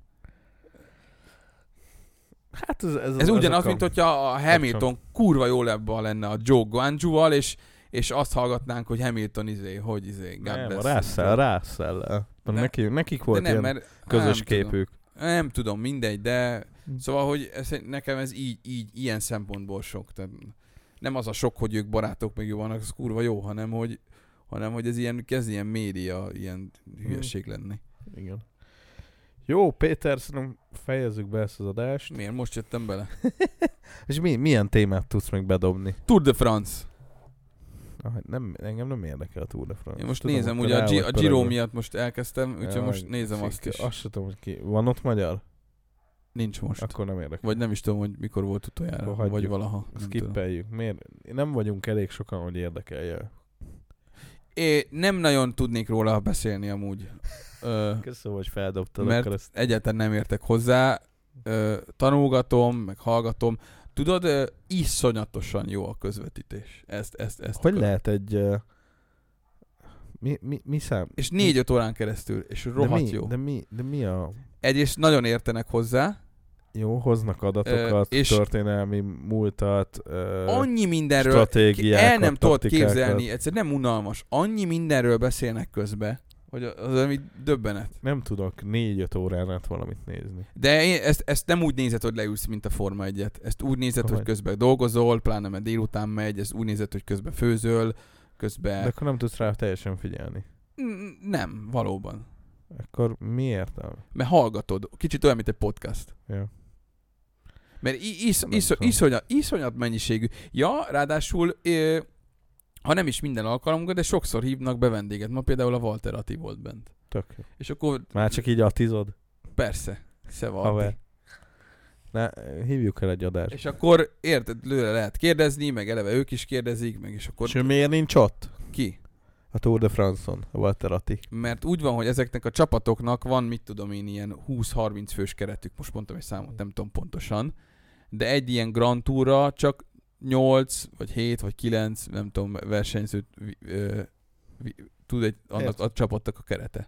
Speaker 1: Hát ez, ez,
Speaker 2: Ez
Speaker 1: ezek
Speaker 2: ugyanaz,
Speaker 1: a-
Speaker 2: mint hogyha a Hamilton kurva jól ebben lenne a Joe Guangzhou-val, és, és azt hallgatnánk, hogy Hamilton izé, hogy izé, God
Speaker 1: Nem, a
Speaker 2: bless.
Speaker 1: Russell, Russell.
Speaker 2: De-
Speaker 1: Neki, nekik
Speaker 2: De
Speaker 1: volt nem,
Speaker 2: nem,
Speaker 1: ilyen
Speaker 2: mert,
Speaker 1: közös
Speaker 2: nem Tudom.
Speaker 1: képük.
Speaker 2: Nem tudom, mindegy, de
Speaker 1: Hm.
Speaker 2: Szóval, hogy ez, nekem ez így, így, ilyen szempontból sok. Tehát nem az a sok, hogy ők barátok meg jó vannak, az kurva jó, hanem hogy,
Speaker 1: Hm.
Speaker 2: hanem hogy ez ilyen, kezd ilyen média, ilyen hülyeség lenni.
Speaker 1: Igen. Jó, Péter, szerintem fejezzük be ezt az adást.
Speaker 2: Miért most jöttem bele?
Speaker 1: És mi, milyen témát tudsz még bedobni?
Speaker 2: Tour de France.
Speaker 1: Ah, nem, engem nem érdekel a Tour de France.
Speaker 2: Én most
Speaker 1: Tudom,
Speaker 2: nézem,
Speaker 1: akkor
Speaker 2: ugye a,
Speaker 1: rá
Speaker 2: G-
Speaker 1: vagy
Speaker 2: a Giro
Speaker 1: pörögve.
Speaker 2: miatt most elkezdtem, úgyhogy
Speaker 1: Ja,
Speaker 2: most
Speaker 1: vagy
Speaker 2: nézem azt
Speaker 1: cikke.
Speaker 2: is.
Speaker 1: Azt se tudom, hogy ki. Van ott magyar?
Speaker 2: Nincs most.
Speaker 1: Akkor nem érdekel.
Speaker 2: Vagy nem is tudom, hogy mikor volt utoljára,
Speaker 1: Akkor hagyjuk.
Speaker 2: vagy valaha. Nem tudom.
Speaker 1: Skippeljük. Miért? Nem vagyunk elég sokan, hogy érdekelje.
Speaker 2: É, nem nagyon tudnék róla beszélni amúgy. Ö,
Speaker 1: Köszönöm, hogy feldobtad.
Speaker 2: Mert-
Speaker 1: Mert... Ezt...
Speaker 2: egyáltalán nem értek hozzá. Ö, tanulgatom, meg hallgatom. Tudod, ö, iszonyatosan jó a közvetítés. Ezt, ezt, ezt.
Speaker 1: Hogy
Speaker 2: akarom.
Speaker 1: lehet egy... ö, Mi, mi, mi szám?
Speaker 2: És négy-öt órán keresztül, és
Speaker 1: de
Speaker 2: rohadt
Speaker 1: mi,
Speaker 2: jó.
Speaker 1: De mi, de mi a...
Speaker 2: Egyrészt nagyon értenek hozzá,
Speaker 1: Jó, hoznak adatokat,
Speaker 2: Ö,
Speaker 1: Ö,
Speaker 2: és-
Speaker 1: és történelmi múltat, ö,
Speaker 2: annyi mindenről ki-
Speaker 1: stratégiákat,
Speaker 2: el nem tudod
Speaker 1: taktikákat.
Speaker 2: képzelni, egyszer nem unalmas. Annyi mindenről beszélnek közbe, hogy az ami döbbenet.
Speaker 1: Nem tudok négy-öt órán át valamit nézni.
Speaker 2: De én ezt, ezt nem úgy nézed, hogy leülsz, mint a Forma 1-et. Ezt úgy nézed, hogy
Speaker 1: Hogy?
Speaker 2: közben dolgozol, pláne mert délután megy, ezt úgy nézed, hogy közben főzöl, közben...
Speaker 1: De
Speaker 2: De...
Speaker 1: akkor nem tudsz rá teljesen figyelni.
Speaker 2: Nem, valóban.
Speaker 1: Akkor mi értelme?
Speaker 2: Mert hallgatod. Kicsit olyan, mint egy podcast.
Speaker 1: Ja.
Speaker 2: Mert i- is,
Speaker 1: Nem
Speaker 2: is,
Speaker 1: tudom.
Speaker 2: iszonyat, iszonyat mennyiségű. Ja, ráadásul, ö, ha nem is minden alkalomra, de sokszor hívnak be vendéget. Ma például a Walter Ati volt bent.
Speaker 1: Tök. jó.
Speaker 2: És akkor
Speaker 1: Már csak így atizod?
Speaker 2: persze, szeva Ati.
Speaker 1: Haver. Na, hívjuk el egy adást.
Speaker 2: És akkor érted, lőle lehet kérdezni, meg eleve ők is kérdezik, meg és akkor
Speaker 1: És ő miért nincs ott?
Speaker 2: ki?
Speaker 1: A Tour de France-on, a Walter Atti.
Speaker 2: Mert úgy van, hogy ezeknek a csapatoknak van, mit tudom én, ilyen 20-30 fős keretük, most mondtam egy számot, nem tudom pontosan, de egy ilyen Grand Tourra csak 8, vagy 7, vagy 9, nem tudom, versenyzőt vi- ö, vi- tud egy, annak
Speaker 1: Értem.
Speaker 2: a csapatnak a kerete.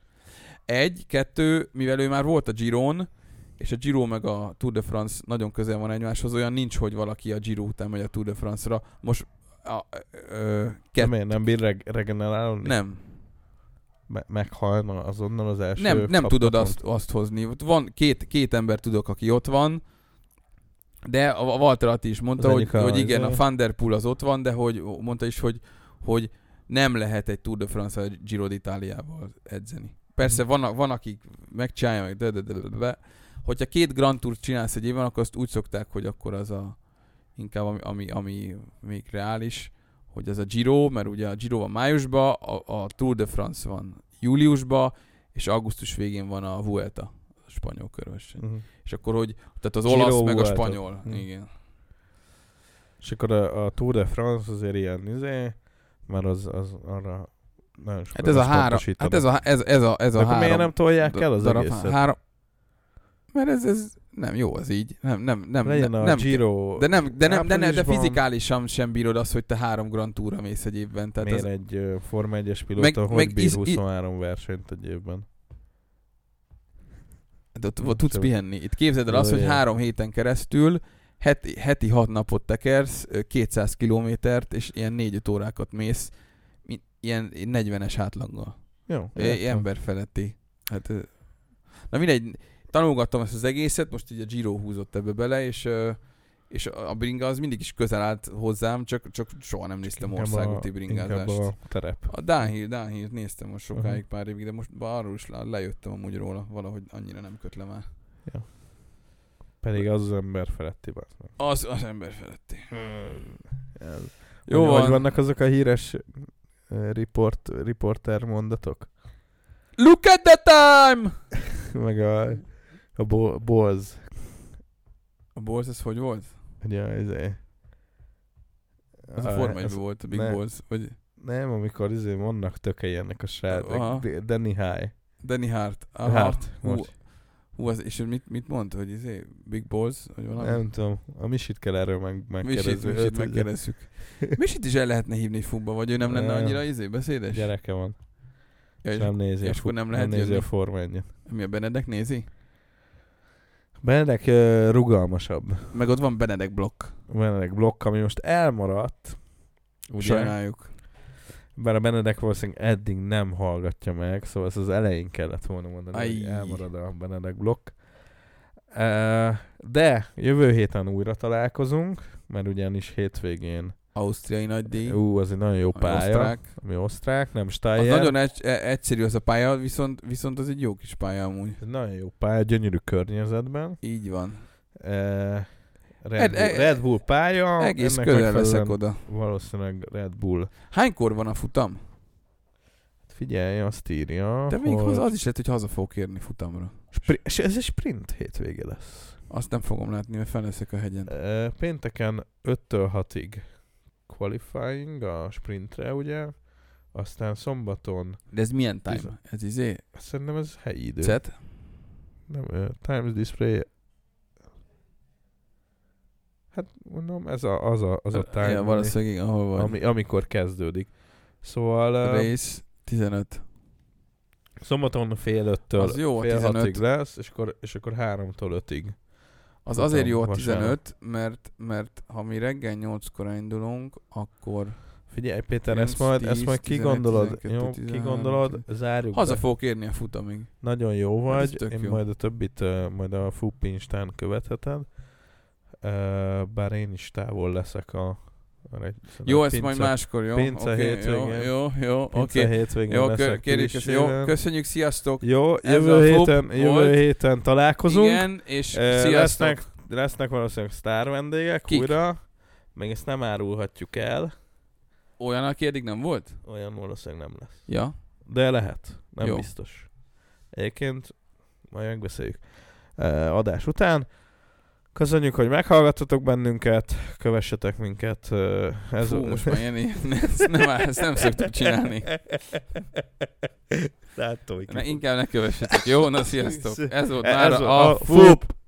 Speaker 2: Egy, kettő, mivel ő már volt a Giron, és a Giro meg a Tour de France nagyon közel van egymáshoz, olyan nincs, hogy valaki a Giro után megy a Tour de France-ra. Most a, ö,
Speaker 1: Kett...
Speaker 2: kett,
Speaker 1: Miért nem bír reg- regenerálni?
Speaker 2: nem,
Speaker 1: Me- meghalna azonnal az első
Speaker 2: nem, nem
Speaker 1: kap-
Speaker 2: tudod
Speaker 1: napon?
Speaker 2: azt, azt hozni. Ott Van két, két ember tudok, aki ott van, de a a Walter Atti is mondta,
Speaker 1: Az
Speaker 2: hogy,
Speaker 1: egyik a-
Speaker 2: hogy igen, a
Speaker 1: izé-
Speaker 2: Van Der Poel az ott van, de hogy mondta is, hogy, hogy nem lehet egy Tour de France vagy Giro d'Italiával edzeni. Persze
Speaker 1: Mhm.
Speaker 2: van, a- van akik megcsinálják, meg de, de, de, de, de. Hogyha két Grand Tour csinálsz egy évben, akkor azt úgy szokták, hogy akkor az a inkább ami, ami, ami még reális, hogy ez a Giro, mert ugye a Giro van májusban, a, a Tour de France van júliusban, és augusztus végén van a Vuelta, a spanyol körverseny.
Speaker 1: Mhm.
Speaker 2: És akkor, hogy tehát az
Speaker 1: Giro,
Speaker 2: olasz, meg a
Speaker 1: Vuelta.
Speaker 2: spanyol.
Speaker 1: Mm.
Speaker 2: Igen.
Speaker 1: És akkor a, a Tour de France azért ilyen izé, mert az, az arra nagyon sokat
Speaker 2: Hát ez a
Speaker 1: is
Speaker 2: három,
Speaker 1: pontosítanak.
Speaker 2: hát ez a, ez, ez a, ez
Speaker 1: De
Speaker 2: a
Speaker 1: akkor
Speaker 2: három.
Speaker 1: miért nem tolják
Speaker 2: da-
Speaker 1: el az
Speaker 2: darab
Speaker 1: egészet?
Speaker 2: Három, mert ez, ez nem jó az így. Nem, nem, nem.
Speaker 1: Legyen
Speaker 2: nem,
Speaker 1: a
Speaker 2: nem
Speaker 1: Giro
Speaker 2: de nem, de nem, de, nem, de
Speaker 1: áprilisban,
Speaker 2: fizikálisan sem bírod azt, hogy te három Grand Tourra mész egy évben. Tehát
Speaker 1: miért
Speaker 2: hát ez,
Speaker 1: egy ö, Forma 1-es pilóta,
Speaker 2: Meg-
Speaker 1: hogy
Speaker 2: meg
Speaker 1: bír
Speaker 2: iz- i-
Speaker 1: 23 versenyt egy évben?
Speaker 2: Hát ott, ott tudsz
Speaker 1: Sem.
Speaker 2: pihenni. Itt képzeld el
Speaker 1: Ez
Speaker 2: azt, hogy
Speaker 1: olyan.
Speaker 2: három héten keresztül heti, heti hat napot tekersz, ö, 200 kilométert, és ilyen 4-5 órákat mész, mi- ilyen 40-es átlaggal.
Speaker 1: Jó,
Speaker 2: Ö,
Speaker 1: értem.
Speaker 2: Ember feletti. Hát, ö, na mindegy, tanulgattam ezt az egészet, most így a Giro húzott ebbe bele, és ö, és a a bringa az mindig is közel állt hozzám, csak, csak soha nem néztem
Speaker 1: Inkább a-
Speaker 2: országúti
Speaker 1: Inkább
Speaker 2: bringázást.
Speaker 1: a Mhm. terep.
Speaker 2: A Dánhír, Dánhírt néztem most
Speaker 1: Aha.
Speaker 2: sokáig pár évig, de most bár arról is le- lejöttem amúgy róla, valahogy annyira nem köt le már.
Speaker 1: Pedig az az ember feletti. bazd meg.
Speaker 2: Az, az ember feletti.
Speaker 1: Ez.
Speaker 2: Jó
Speaker 1: hogy,
Speaker 2: van.
Speaker 1: hogy vannak azok a híres ö, riport, riporter mondatok?
Speaker 2: Look at the time!
Speaker 1: Meg a, a bo, boz.
Speaker 2: A Bulls ez hogy volt?
Speaker 1: Ugye, izé. ez
Speaker 2: Ez a Forma 1 volt, a Big
Speaker 1: ne.
Speaker 2: Balls. Vagy
Speaker 1: Nem, amikor izé vannak tökei ennek a
Speaker 2: Aha.
Speaker 1: srácok. D- Danny High.
Speaker 2: Danny Hart. Aha.
Speaker 1: Hart.
Speaker 2: Hú,
Speaker 1: Most.
Speaker 2: hú az, és mit, mit mond, hogy izé, Big Balls, vagy valami?
Speaker 1: Nem tudom. A Misit kell erről meg,
Speaker 2: Misit,
Speaker 1: megkérdezni.
Speaker 2: Misit
Speaker 1: Őt ugye
Speaker 2: megkérdezzük. Misit is el lehetne hívni egy futba, vagy ő nem lenne
Speaker 1: Nem.
Speaker 2: annyira izé beszédes?
Speaker 1: Gyereke van.
Speaker 2: Ja,
Speaker 1: És
Speaker 2: és
Speaker 1: nem nézi, a
Speaker 2: és akkor
Speaker 1: fut-
Speaker 2: nem lehet
Speaker 1: nézi
Speaker 2: jönni.
Speaker 1: a Forma 1
Speaker 2: Mi a Benedek nézi?
Speaker 1: Benedek rugalmasabb.
Speaker 2: Meg ott van Benedek blokk.
Speaker 1: Benedek blokk, ami most elmaradt,
Speaker 2: Ugye?
Speaker 1: Ugye?
Speaker 2: Sajnáljuk.
Speaker 1: bár a Benedek valószínűleg eddig nem hallgatja meg, szóval ezt az elején kellett volna mondani, hogy
Speaker 2: Ajj.
Speaker 1: elmarad a Benedek blokk. Ö, De jövő héten újra találkozunk, mert ugyanis hétvégén
Speaker 2: Ausztriai nagydíj.
Speaker 1: Ú, az egy nagyon jó pálya. Osztrák.
Speaker 2: Osztrák.
Speaker 1: Ami osztrák, nem
Speaker 2: Az
Speaker 1: Steyer.
Speaker 2: nagyon egy, e- egyszerű az a pálya, viszont, viszont az egy jó kis pálya amúgy.
Speaker 1: Ez nagyon jó pálya, gyönyörű környezetben.
Speaker 2: Így van.
Speaker 1: E,
Speaker 2: Ed-
Speaker 1: Red, Bull,
Speaker 2: e-
Speaker 1: Red Bull pálya.
Speaker 2: Egész
Speaker 1: ennek
Speaker 2: közel
Speaker 1: megfelelően
Speaker 2: leszek oda.
Speaker 1: Valószínűleg Red Bull. Hát
Speaker 2: Hánykor van a futam?
Speaker 1: Figyelj, azt írja,
Speaker 2: De még
Speaker 1: hogy-
Speaker 2: hozzá az is lehet, hogy haza fogok érni futamra.
Speaker 1: Spri- és ez egy sprint hétvége lesz.
Speaker 2: Azt nem fogom látni, mert fenn leszek a hegyen.
Speaker 1: E, Pénteken 5-től 6-ig qualifying a sprintre, ugye? Aztán szombaton,
Speaker 2: De ez milyen time?
Speaker 1: Tizen-
Speaker 2: Ez izé?
Speaker 1: szerintem ez helyi idő.
Speaker 2: Cet?
Speaker 1: Nem, ö, Times Display. Hát mondom, ez a, az a, az a time,
Speaker 2: Ja, valószínűleg igen, ahol
Speaker 1: ami,
Speaker 2: van.
Speaker 1: ami, amikor kezdődik. Szóval ö,
Speaker 2: Race 15.
Speaker 1: szombaton fél öttől
Speaker 2: Az jó, a
Speaker 1: fél
Speaker 2: 15.
Speaker 1: hatig lesz, és akkor, és akkor háromtól ötig.
Speaker 2: Az
Speaker 1: Futam
Speaker 2: azért jó a
Speaker 1: vasárnap.
Speaker 2: 15, mert, mert ha mi reggel 8-kor indulunk, akkor
Speaker 1: Figyelj, Péter,
Speaker 2: Kilenc,
Speaker 1: ezt majd, ezt
Speaker 2: tíz,
Speaker 1: majd
Speaker 2: tizenegy,
Speaker 1: kigondolod,
Speaker 2: tizenkettő,
Speaker 1: jó?
Speaker 2: tizenhárom,
Speaker 1: Kigondolod,
Speaker 2: tizen-
Speaker 1: zárjuk
Speaker 2: haza
Speaker 1: be.
Speaker 2: fogok érni a futamig.
Speaker 1: Nagyon jó
Speaker 2: Hát ez
Speaker 1: vagy,
Speaker 2: tök
Speaker 1: én
Speaker 2: jó.
Speaker 1: majd a többit ö, majd a Fupi Instán követheted. Ö, Bár én is távol leszek a... a egy- szerintem
Speaker 2: Jó, ezt majd
Speaker 1: pince-
Speaker 2: máskor, jó?
Speaker 1: pince
Speaker 2: Oké, jó,
Speaker 1: hétvégén.
Speaker 2: jó, jó,
Speaker 1: Pince
Speaker 2: oké.
Speaker 1: hétvégén
Speaker 2: Jó, kö-
Speaker 1: leszek
Speaker 2: kérjük, ezt, jó,
Speaker 1: Kilisében.
Speaker 2: köszönjük, sziasztok!
Speaker 1: Jó,
Speaker 2: Ez a
Speaker 1: jövő
Speaker 2: Fup
Speaker 1: héten, jövő
Speaker 2: volt.
Speaker 1: héten találkozunk.
Speaker 2: Igen, és
Speaker 1: Ö,
Speaker 2: sziasztok!
Speaker 1: Lesznek, lesznek valószínűleg sztár vendégek
Speaker 2: Kik?
Speaker 1: újra. Még ezt nem árulhatjuk el.
Speaker 2: Olyan, aki eddig nem volt?
Speaker 1: Olyan valószínűleg nem lesz.
Speaker 2: Ja.
Speaker 1: De lehet, nem
Speaker 2: Jó.
Speaker 1: Jó. biztos. Egyébként majd megbeszéljük e, adás után. Köszönjük, hogy meghallgattatok bennünket, kövessetek minket. e,
Speaker 2: Ez Fú, most már Jani, ezt nem, ezt nem szoktuk csinálni.
Speaker 1: Látom, hogy
Speaker 2: Ne, inkább ne kövessetek. Jó, na sziasztok! Ez volt
Speaker 1: E, Ez
Speaker 2: már
Speaker 1: volt
Speaker 2: a,
Speaker 1: a
Speaker 2: FUP!
Speaker 1: FUP.